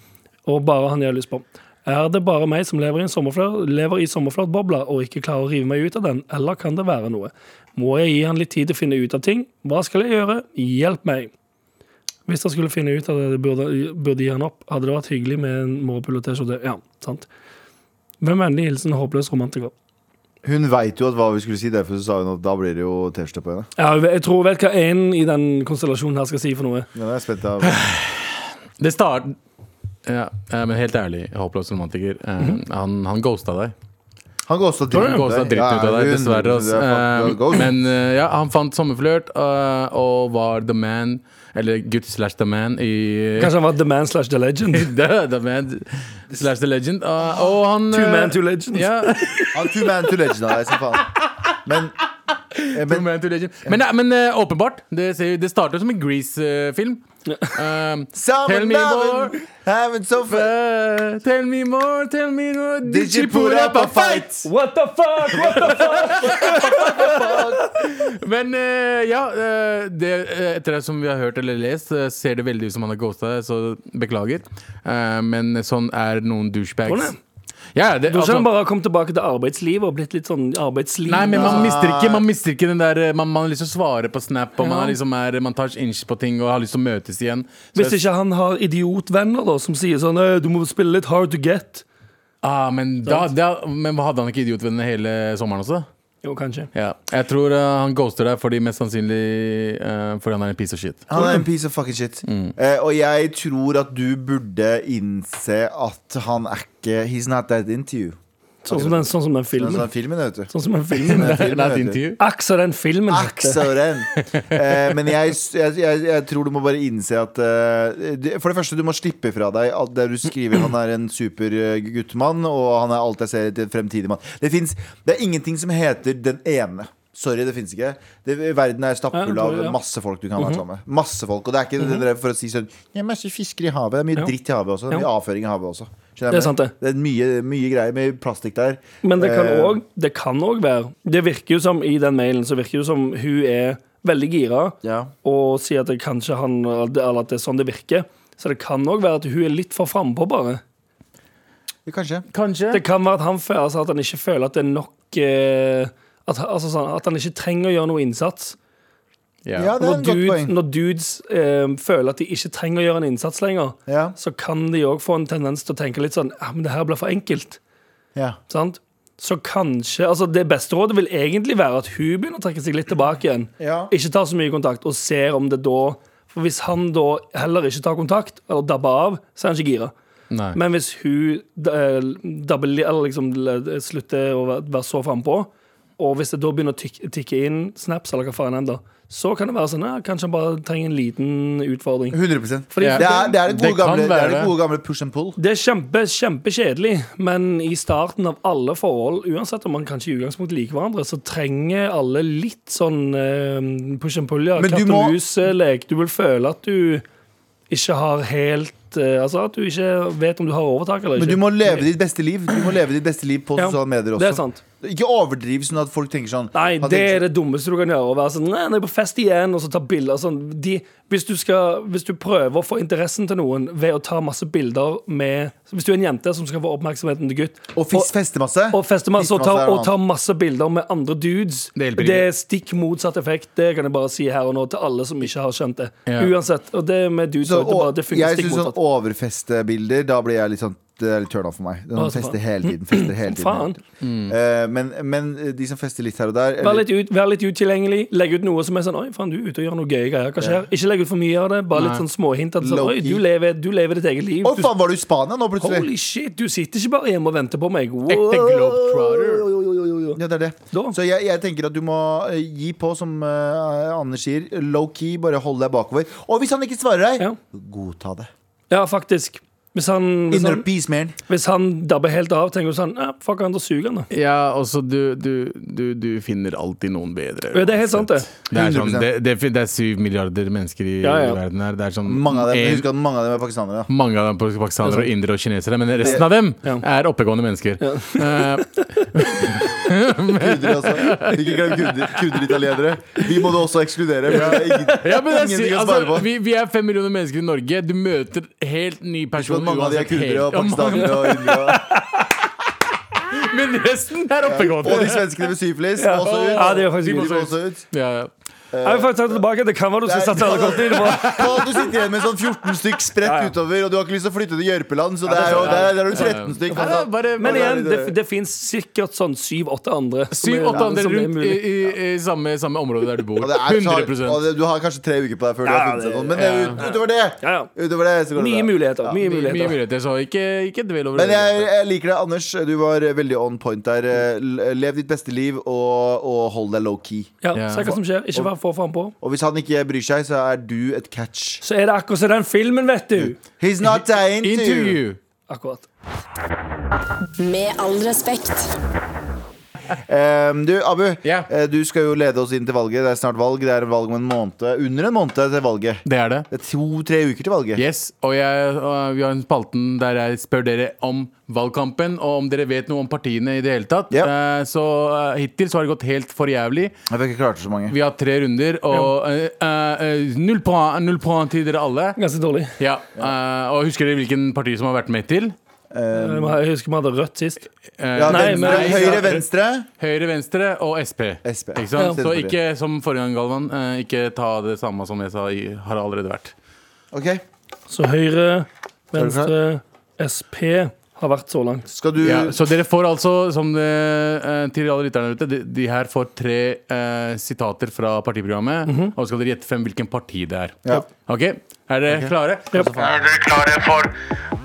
og bare han jeg har lyst på. Er det bare meg som lever i, en sommerflør- lever i sommerflørtbobla og ikke klarer å rive meg ut av den, eller kan det være noe? Må jeg gi han litt tid til å finne ut av ting? Hva skal jeg gjøre? Hjelp meg! Hvis han skulle finne ut av det, burde, burde gi han opp. Hadde det vært hyggelig med en måpul og T-skjorte? Ja, sant. Med vennlig hilsen håpløs romantiker. Hun veit jo at hva vi skulle si, derfor så sa hun at da blir det jo T-skjorte på henne. Ja, jeg tror jeg vet hva en i den konstellasjonen her skal si for noe. Ja, det er jeg spent av. Det start... Ja, eh, men helt ærlig, håpløs romantiker. eh, Mhm. han, han ghosta deg. Han går også Han ghosta dritten ut dritten ut av deg, dessverre. ass. Eh, altså. Men men eh, ja, han fant sommerflørt eh, og var the man, eller gutt slash the man, i Kanskje han var the man slash the legend? the, the man slash the legend. eh, og han Two eh, man, two legends. ja, Han er two man to legend av deg, som faen. Men, eh, Two men Man, Two Legend. Men, nei, men eh, åpenbart. Det, ser jo- det starter som en Grease-film. Eh, tell Sammen, me more. down, having so fun. eh, tell me more, tell me more. Did you put up a fight? What the fuck? What the fuck? Men eh, ja, eh, det, eh, etter det som vi har hørt eller lest, eh, ser det veldig ut som han har ghosta deg, så beklager. Eh, men sånn er noen douchebags. Hvordan? Sånn, Ja, det, Du altså- skjønner bare har kommet tilbake til arbeidslivet og blitt litt sånn arbeidsliv. Nei, men man mister ikke, man mister ikke den der eh, Man, man liksom svarer på snap, og man, er liksom er, man tar inch på ting og har lyst til å møtes igjen. Så Hvis jeg- ikke han har idiotvenner da, som sier sånn «Øy, Du må spille litt hard to get. ah, men, da, da, men hadde han ikke idiotvennene hele sommeren også? Jo, kanskje. Ja, jeg tror eh, han ghoster deg fordi mest sannsynlig eh, fordi han er en piece of shit. Han er en piece of fucking shit. Eh, og jeg tror at du burde innse at han er ikke He's not that into you. Sånn som den, sånn som den Den filmen. sånn filmen, vet du. Sånn som den filmen. Den filmen, Not vet du. into you. Aks av den filmen. Akk, Søren. Eh, men jeg, jeg, jeg, jeg tror du må bare innse at eh, det- For det første, du må slippe fra deg alt der du skriver han er en super eh, guttmann, og han er alt jeg ser etter en fremtidig mann. Det, finnes, det er ingenting som heter den ene. Sorry, det fins ikke. Det, verden er stappfull Ja, det tror av jeg, ja. Mhm. masse folk du kan være sammen med. Masse folk, Og det er ikke det der for å si sånn Det er masse fisker i havet. Det er mye Ja. dritt i havet også. Det er mye avføring i havet også. Skjønner jeg Det er meg? sant, det. Det er mye, mye greier med plastikk der. Men det kan Eh, òg det kan også være Det virker jo som i den mailen så virker det jo som hun er veldig gira Ja. og sier at det kanskje han Eller at det er sånn det virker. Så det kan òg være at hun er litt for frampå, bare. Kanskje. Kanskje. Det kan være at han føler altså, at han ikke føler at det er nok eh, at, altså, sånn, at han ikke trenger å gjøre noe innsats. Ja, det er Når, et godt dude, poeng. når dudes eh, føler at de ikke trenger å gjøre en innsats lenger, Ja. så kan de òg få en tendens til å tenke litt sånn Ja, men det her blir for enkelt. Ja. Sant? Så kanskje Altså, det beste rådet vil egentlig være at hun begynner å trekke seg litt tilbake igjen. Ja. Ikke tar så mye kontakt, og ser om det da For hvis han da heller ikke tar kontakt, eller dabber av, så er han ikke gira. Nei. Men hvis hun eh, dabber li- eller liksom l- slutter å være- være så frampå, og hvis det da begynner å tikke, tikke inn snaps, eller hva faen enn da, så kan det være sånn ja, kanskje han bare trenger en liten utfordring. 100 Fordi Ja. Det er, det er det Det gode kan gamle, det er være. det gode gamle push and pull. Det er kjempe, kjempekjedelig, men i starten av alle forhold, uansett om man kanskje i utgangspunktet liker hverandre, så trenger alle litt sånn eh, push and pull, ja. Men du Katt og må- mus-lek. Du vil føle at du ikke har helt eh, Altså at du ikke vet om du har overtak eller Men du ikke. må leve ditt beste liv Du må leve ditt beste liv på Ja, sosiale medier også. det er sant. Ikke overdriv sånn at folk tenker sånn Nei, han det tenker er det dummeste du kan gjøre. Å være sånn, nei, jeg er på fest igjen, og så ta bilder. Sånn. De, hvis, du skal, hvis du prøver å få interessen til noen ved å ta masse bilder med Hvis du er en jente som skal få oppmerksomheten til gutt sånn, Og fis- feste masse Og fester masse, og tar, Fistemasse er noe og tar masse bilder med andre dudes. Det Det, hjelper er stikk motsatt effekt. Det kan jeg bare si her og nå til alle som ikke har skjønt det. Ja. Uansett. Og det med dudes Så, og, det, bare, det og, funker jeg stikk synes sånn motsatt. overfestebilder Da blir jeg litt sånn det er litt turn off for meg. Å, De så fester faen. hele tiden. Fester hele tiden. Faen. Eh, men, men de som fester litt her og der Vær eller, litt, ut, vær litt utilgjengelig. Legg ut noe som er sånn Oi, faen, du er ute og gjør noe gøye greier. Hva skjer? Ikke legg ut for mye av det. Bare litt Nei. sånn småhint. At sånn, Low Oi, du key. lever, du lever ditt eget liv. Å, Du, faen, var du i Spania nå, plutselig? holy shit, du sitter ikke bare hjemme og venter på meg. Wow. Ekte globetrotter. Jo, jo, jo, jo, jo. Ja, det er det. Da. Så jeg, jeg tenker at du må eh, gi på, som eh, Anders sier. Low key, bare hold deg bakover. Og hvis han ikke svarer deg, Ja. godta det. Ja, faktisk. Hvis han, hvis Inner han, peace, man. hvis han dabber helt av, tenker du sånn ja, Fuck han, da suger han, da. Ja, altså, du, du, du, du finner alltid noen bedre. Ja, det er helt sant, det. Det er, sånn, 100%. det, det, fin- det er syv milliarder mennesker i Ja, ja. i verden her. Det er sånn Mange av dem, en- husk at mange av dem er pakistanere. Da. mange av dem er pakistanere og indere og kinesere, men resten av dem Ja. er oppegående mennesker. Eh, Kurdere også. Ikke glem kurder- kurderitalienere. De må du også ekskludere. for det er ingen- ja, men jeg Ingenting å sier, svare altså, på. vi, vi er fem millioner mennesker i Norge. Du møter helt ny person. Mange av de er uansett kurdere helt- og Ja, mange- pakistanere og indere. Men resten Og er de oppegående. svenskene med syfilis. Også ut. Ja, det er de faktisk må mye også ut. Ja, ja. Jeg vil faktisk ta det tilbake. Det kan være du skal satse alle kortene dine på. Og du sitter igjen med sånn 14 stykk spredt Ja, ja. utover, og du har ikke lyst til å flytte til Jørpeland, så det er jo, der, der er du 13 stykk. Ja, ja, bare- Men Og der er igjen, de det, der. det fins sikkert sånn syv-åtte andre. som er- Syv-åtte andre som er rundt i, mulig. i, i samme, samme område der du bor. Og det er, 100 og det, du har kanskje tre uker på deg før du Ja, har funnet det- seg noen. Men det, er ut- utover det, Ja, ja. utover det så går det Mye bra. muligheter. Mye Mye mye muligheter. muligheter, så ikke, ikke dvel over Men det. jeg, jeg liker det, Anders. Du var eh, veldig on point der. Eh, Lev ditt beste liv og, og hold deg low-key. Ja, Ja. Se hva som skjer. Ikke vær for frampå. Og hvis han ikke bryr seg, så er du et catch. Så er det akkurat som den filmen, vet du. He's not dying to you. Interview! Akkurat. Med all respekt. Ehm, du, Abu, Ja. eh, du skal jo lede oss inn til valget. Det er snart valg. Det er valg om en måned. Under en måned til valget. Det er det. Det er to-tre uker til valget. Yes, og, jeg, og vi har en spalten der jeg spør dere om valgkampen, og om dere vet noe om partiene i det hele tatt. Ja. Eh, så eh, hittil så har det gått helt for jævlig. Jeg fikk ikke klart så mange. Vi har tre runder, og eh, eh, eh, null poeng null poeng til dere alle. Ganske dårlig. Ja, eh, Og husker dere hvilken parti som har vært med til? Jeg husker Eh, vi hadde rødt sist. Eh, Ja, Nei, venstre, men- høyre, venstre. Høyre, Venstre og SP. SP. Ikke sant? Ja. Så ikke som forrige gang, Galvan. eh, ikke ta det samme som jeg sa i, har allerede vært. Ok Så høyre, venstre, SP har vært så langt. Skal du Ja, så dere får altså, som det, eh, til alle lytterne der ute, de, de her får tre eh, sitater fra partiprogrammet. Og så skal dere gjette frem hvilken parti det er. Ja. Ok, Er dere klare? Er dere klare for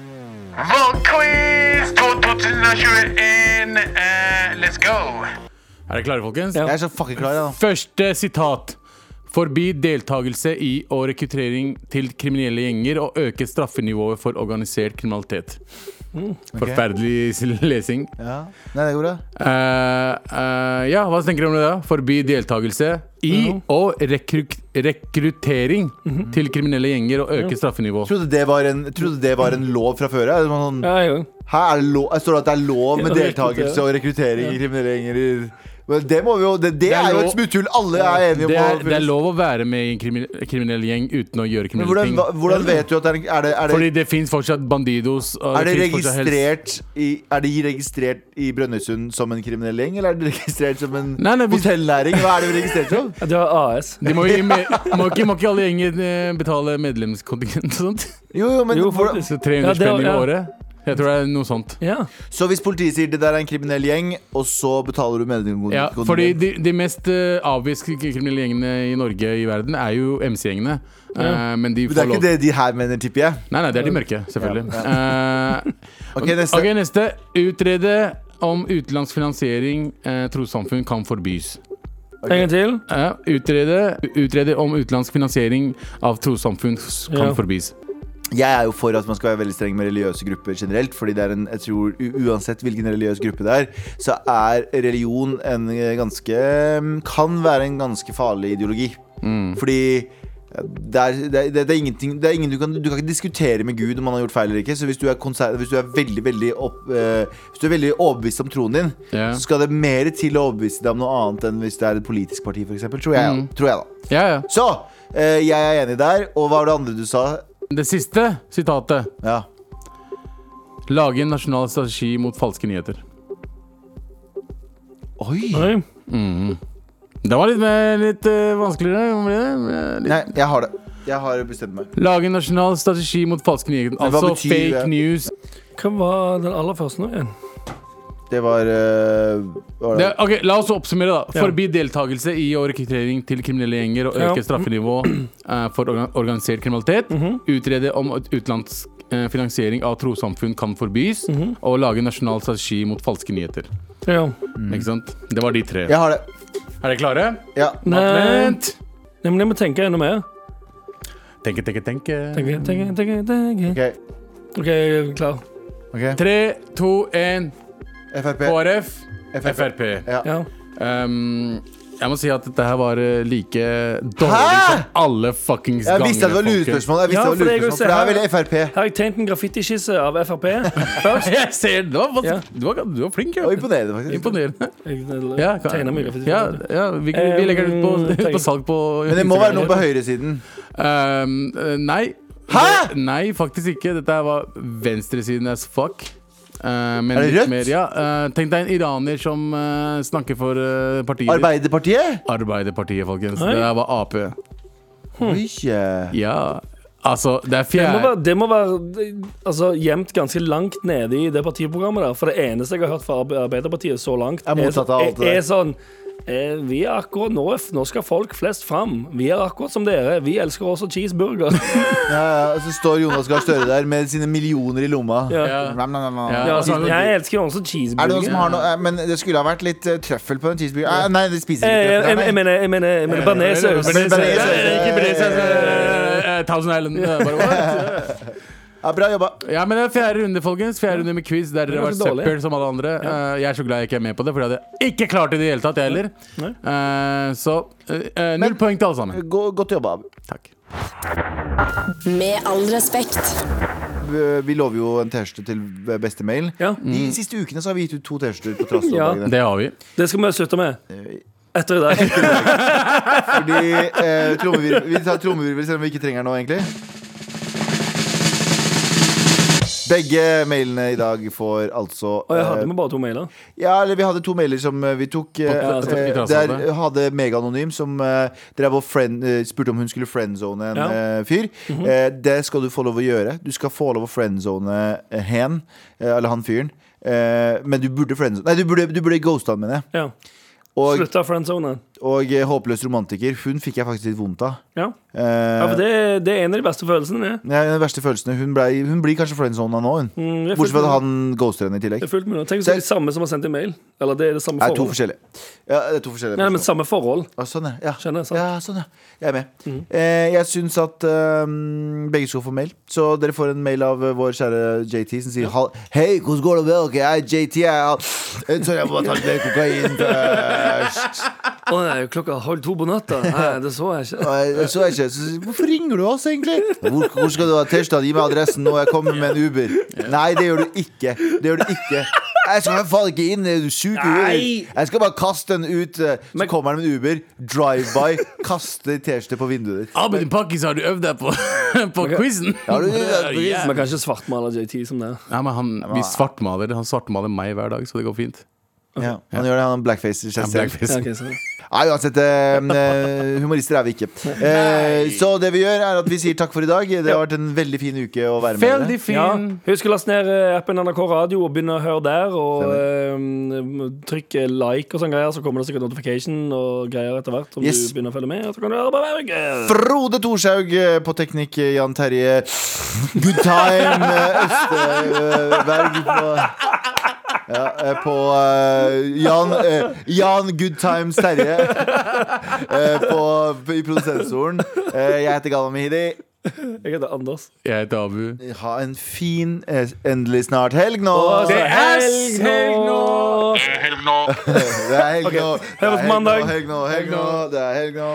Valgquiz 2021? Eh, let's go! Er dere klare, folkens? Ja. Jeg er så fucking klar, jeg, da. Første sitat. Forby deltakelse i og rekruttering til kriminelle gjenger og øke straffenivået for organisert kriminalitet. Forferdelig lesing. Ja. Nei, det går bra. Eh, eh, ja, hva tenker du om det? da? Forby deltakelse i Mhm. og rekruk rekruttering til kriminelle gjenger og øke straffenivå. Trodde det var en, trodde det var en lov fra før av? Sånn, Ja, jeg òg. her er det lov, her står det at det er lov med Ja, deltakelse og rekruttering i kriminelle gjenger. i- Men det, må vi jo, det, det, er er, jo lov. et smutthull alle er enige om. Det å- er, det er lov å være med i en krimi kriminell gjeng uten å gjøre Men kriminelle hvordan, ting. hva- hvordan vet du at det er en- er det, er det, Fordi det fins fortsatt bandidos. og er det finnes fortsatt helse- registrert i, Er de registrert i Brønnøysund som en kriminell gjeng, eller er de registrert som en Nei, nei, hvis- hotellnæring? Hva er det vi registrert som? Ja, det var AS. De må, gi med, må, ikke, må ikke alle gjenger eh, betale medlemskontingent og sånt? Jo, jo, men Jo, hvordan- Så faktisk. 300 Ja, det- spenn i ja. året? Jeg tror det er noe sånt. Ja. Så hvis politiet sier det der er en kriminell gjeng, og så betaler du medlemskon- Ja, kontingent? fordi de, de mest eh, avviste kriminelle gjengene i Norge i verden er jo MC-gjengene. Eh, Men men de det får er lov ikke det de her mener, tipper jeg. Nei, nei, det er de mørke, selvfølgelig. Eh, Ok, neste. ok, neste. Utrede om utenlandsk finansiering eh, trossamfunn kan forbys. En gang til. Eh, utrede, utrede om utenlandsk finansiering av trossamfunn s- kan Ja. forbys. Jeg er jo for at man skal være veldig streng med religiøse grupper generelt. Fordi det er en, jeg tror u- Uansett hvilken religiøs gruppe det er, så er religion en eh, ganske mm, Kan være en ganske farlig ideologi. Fordi det er, det, er, det er ingenting det er ingen, du, kan, du kan ikke diskutere med Gud om han har gjort feil eller ikke. Så hvis du er, konser, hvis du er veldig veldig opp, eh, Hvis du er veldig overbevist om troen din, Ja. så skal det mer til å overbevise deg om noe annet enn hvis det er et politisk parti, f.eks. Tror, jeg, tror jeg, da. Ja, ja. Så eh, jeg er enig der. Og hva var det andre du sa? Det siste sitatet. Ja Lage en nasjonal strategi mot falske nyheter. Oi! Oi. Det var litt, mer, litt eh, vanskeligere. hva blir det? Eh, Litt. Nei, jeg har det. Jeg har bestemt meg. Lage en nasjonal strategi mot falske nyheter. Men hva Altså betyr fake det? news. Hva var den aller første nå igjen? Det var, eh, var Det, det? ok, La oss oppsummere. da Ja. Forby deltakelse i og rekruttering til kriminelle gjenger og øke Ja. straffenivået eh, for organ- organisert kriminalitet. Mhm. Utrede om at utenlandsk eh, finansiering av trossamfunn kan forbys. Mhm. Og lage en nasjonal strategi mot falske nyheter. Ja. Ikke sant? Det var de tre. Jeg har det. Er dere klare? Ja. Nei, Vent! nei, men jeg må tenke enda mer. Tenke, tenke, tenke. Tenke, tenke, tenke, tenke. OK. OK, jeg er klar. ok. Tre, to, én. Frp. KrF. Frp. Frp. Ja. Um, jeg må si at dette her var eh, like dårlig som alle fuckings Jeg ganger. visste at det var folkens. lurespørsmål. Jeg visste det Ja, var for det er jo lurespørsmål, for det er veldig Frp. Her har jeg tegnet en graffitiskisse av Frp. Først. Jeg ser det. Du var, Ja. du var, du var flink, Det ja. var imponerende, faktisk. Imponerende. Jeg eh, Ja, ka- tegner mye graffiti. ja, ja vi, vi legger det Um, ut på, tenk. på salg på Men det må være noe på høyresiden. Um, eh, nei. Hæ? Det- Nei, faktisk ikke. Dette her var venstresiden as fuck. Eh, men Er det litt rødt? Mer, ja. Eh, tenk deg en iraner som eh, snakker for eh, partiet Arbeiderpartiet? Arbeiderpartiet, folkens. Oi. Det her var Ap. Oi. eh. Ja. Altså, det er Det må fjerde være, det må være altså, gjemt ganske langt nede i det partiprogrammet der. For det eneste jeg har hørt fra Arbe- Arbeiderpartiet så langt, Er motsatt av alt det der. er, er sånn eh, Vi er akkurat nå Nå skal folk flest fram. Vi er akkurat som dere. Vi elsker også cheeseburger. Ja, ja, og så står Jonas Gahr Støre der med sine millioner i lomma. Ja. Ja. Nam, nam, nam, nam. Ja. Ja, altså, jeg Er det elsker også noen som cheeseburger. har noe eh, Men det skulle ha vært litt eh, trøffel på den cheeseburgeren. Eh, Nei, det spiser Eh, ikke Jeg, jeg, trøffel. jeg nei, nei. mener, jeg mener, jeg Eh, mener bearnéssaus. Bearnéssaus. Ikke Bresas. Thousand Island. eh, Bare, what? Ja, bra jobba. ja, men det er fjerde runde, folkens. Fjerde runde med quiz. Der dere har var vært så dårlig. søppel som alle andre. Eh, Jeg er så glad jeg ikke er med på det, for jeg hadde ikke klart det i det hele tatt, jeg heller. Eh, Så eh, eh, null poeng til alle sammen. Gå- Godt jobba, Abu. Takk. Med all respekt. Eh, Vi lover jo en T-skjorte til beste mail. Ja. De siste ukene så har vi gitt ut to T-skjorter på trass av Ja. dagene. Det har vi. Det skal vi slutte med. Eh, Etter i dag. Fordi eh, trommevirvel Vi tar trommevirvel selv om vi ikke trenger den nå, egentlig. Begge mailene i dag får altså Og jeg eh, hadde med bare to mailer. Ja, eller vi hadde to mailer som eh, vi tok. eh, Ja, altså, eh, vi trass der av det. hadde Megaanonym som eh, drev og friend, eh, spurte om hun skulle friendzone en Ja. Mhm. eh, fyr. Eh, det skal du få lov å gjøre. Du skal få lov å friendzone eh, hen, eh, eller han fyren. Eh, men du burde friendzone Nei, du burde, du burde ghoste han, mener jeg. Ja. Og, Slutta friendzone. og eh, Håpløs romantiker. Hun fikk jeg faktisk litt vondt av. Ja. Eh, ja, for det, det er en av de verste følelsene. det. det er Den verste følelsen. Hun, ble, hun blir kanskje friendzona nå, hun. Mm, jeg Bortsett fra følte- at han ghoster henne i tillegg. Det er fullt mulig. Tenk hvis det er de samme som har sendt en mail. Eller det er det samme Det er to forhold. forskjellige. Ja, det er to forskjellige Nei, men samme forhold. Ja, sånn, ja. ja. Skjønner, sant? Mm. ja, sånn, ja. Jeg er med. Eh, jeg syns at eh, begge skal få mail. Så dere får en mail av eh, vår kjære JT som sier «Hall- Hei, hvordan går det med dere? Jeg er JT. Jeg er Eh, Sorry, jeg må ta litt kokain først. Å nei, klokka halv to på natta. Nei, det så jeg ikke. Og jeg- Så jeg ikke. Så, sier, Hvorfor ringer du oss, egentlig? Hvor, hvor skal du ha tirsdag? Gi meg adressen nå. Jeg kommer med en Uber. Nei, det gjør du ikke. Det gjør du ikke. Jeg skal i hvert fall ikke inn. Er du sjuk i Nei. huet? Jeg skal bare kaste den ut. eh, Så Men- kommer han med en Uber, drive-by, kaster T-skjorte på vinduet ditt. Abid Ah, Pakkis har du øvd deg på på Ok. quizen. Har du- har du- Man kan ikke svartmale JT som det. Nei, men han, vi svartmaler. Han svartmaler meg hver dag, så det går fint. Ja, han gjør det, han blackfacer seg Han selv. Ja, blackface. ok, så. Nei, uansett, eh, humorister er vi ikke. Eh, så det vi gjør, er at vi sier takk for i dag. Det har vært en veldig fin uke å være med Veldig dere. fin. ja. Husk å laste ned eh, appen NRK Radio og begynne å høre der. Og eh, trykk eh, like og sånne greier, så kommer det sikkert notification og greier etter hvert. Om Yes. du begynner å følge med. Og så kan du høre på hver uke. Frode Thorshaug eh, på teknikk, eh, Jan Terje Good time eh, Østeberg på ja, eh, på eh, Jan, eh, Jan Good Times Terje eh, på, i produsentstolen. Eh, jeg heter Galvan Mehidi. Jeg heter Anders. Jeg heter Abu. Ha en fin, eh, endelig snart helg nå. Det er helg nå! Det er helg nå. Det er helg nå. Det er oss helg mandag. nå, Helg nå, helg nå. Det er helg nå.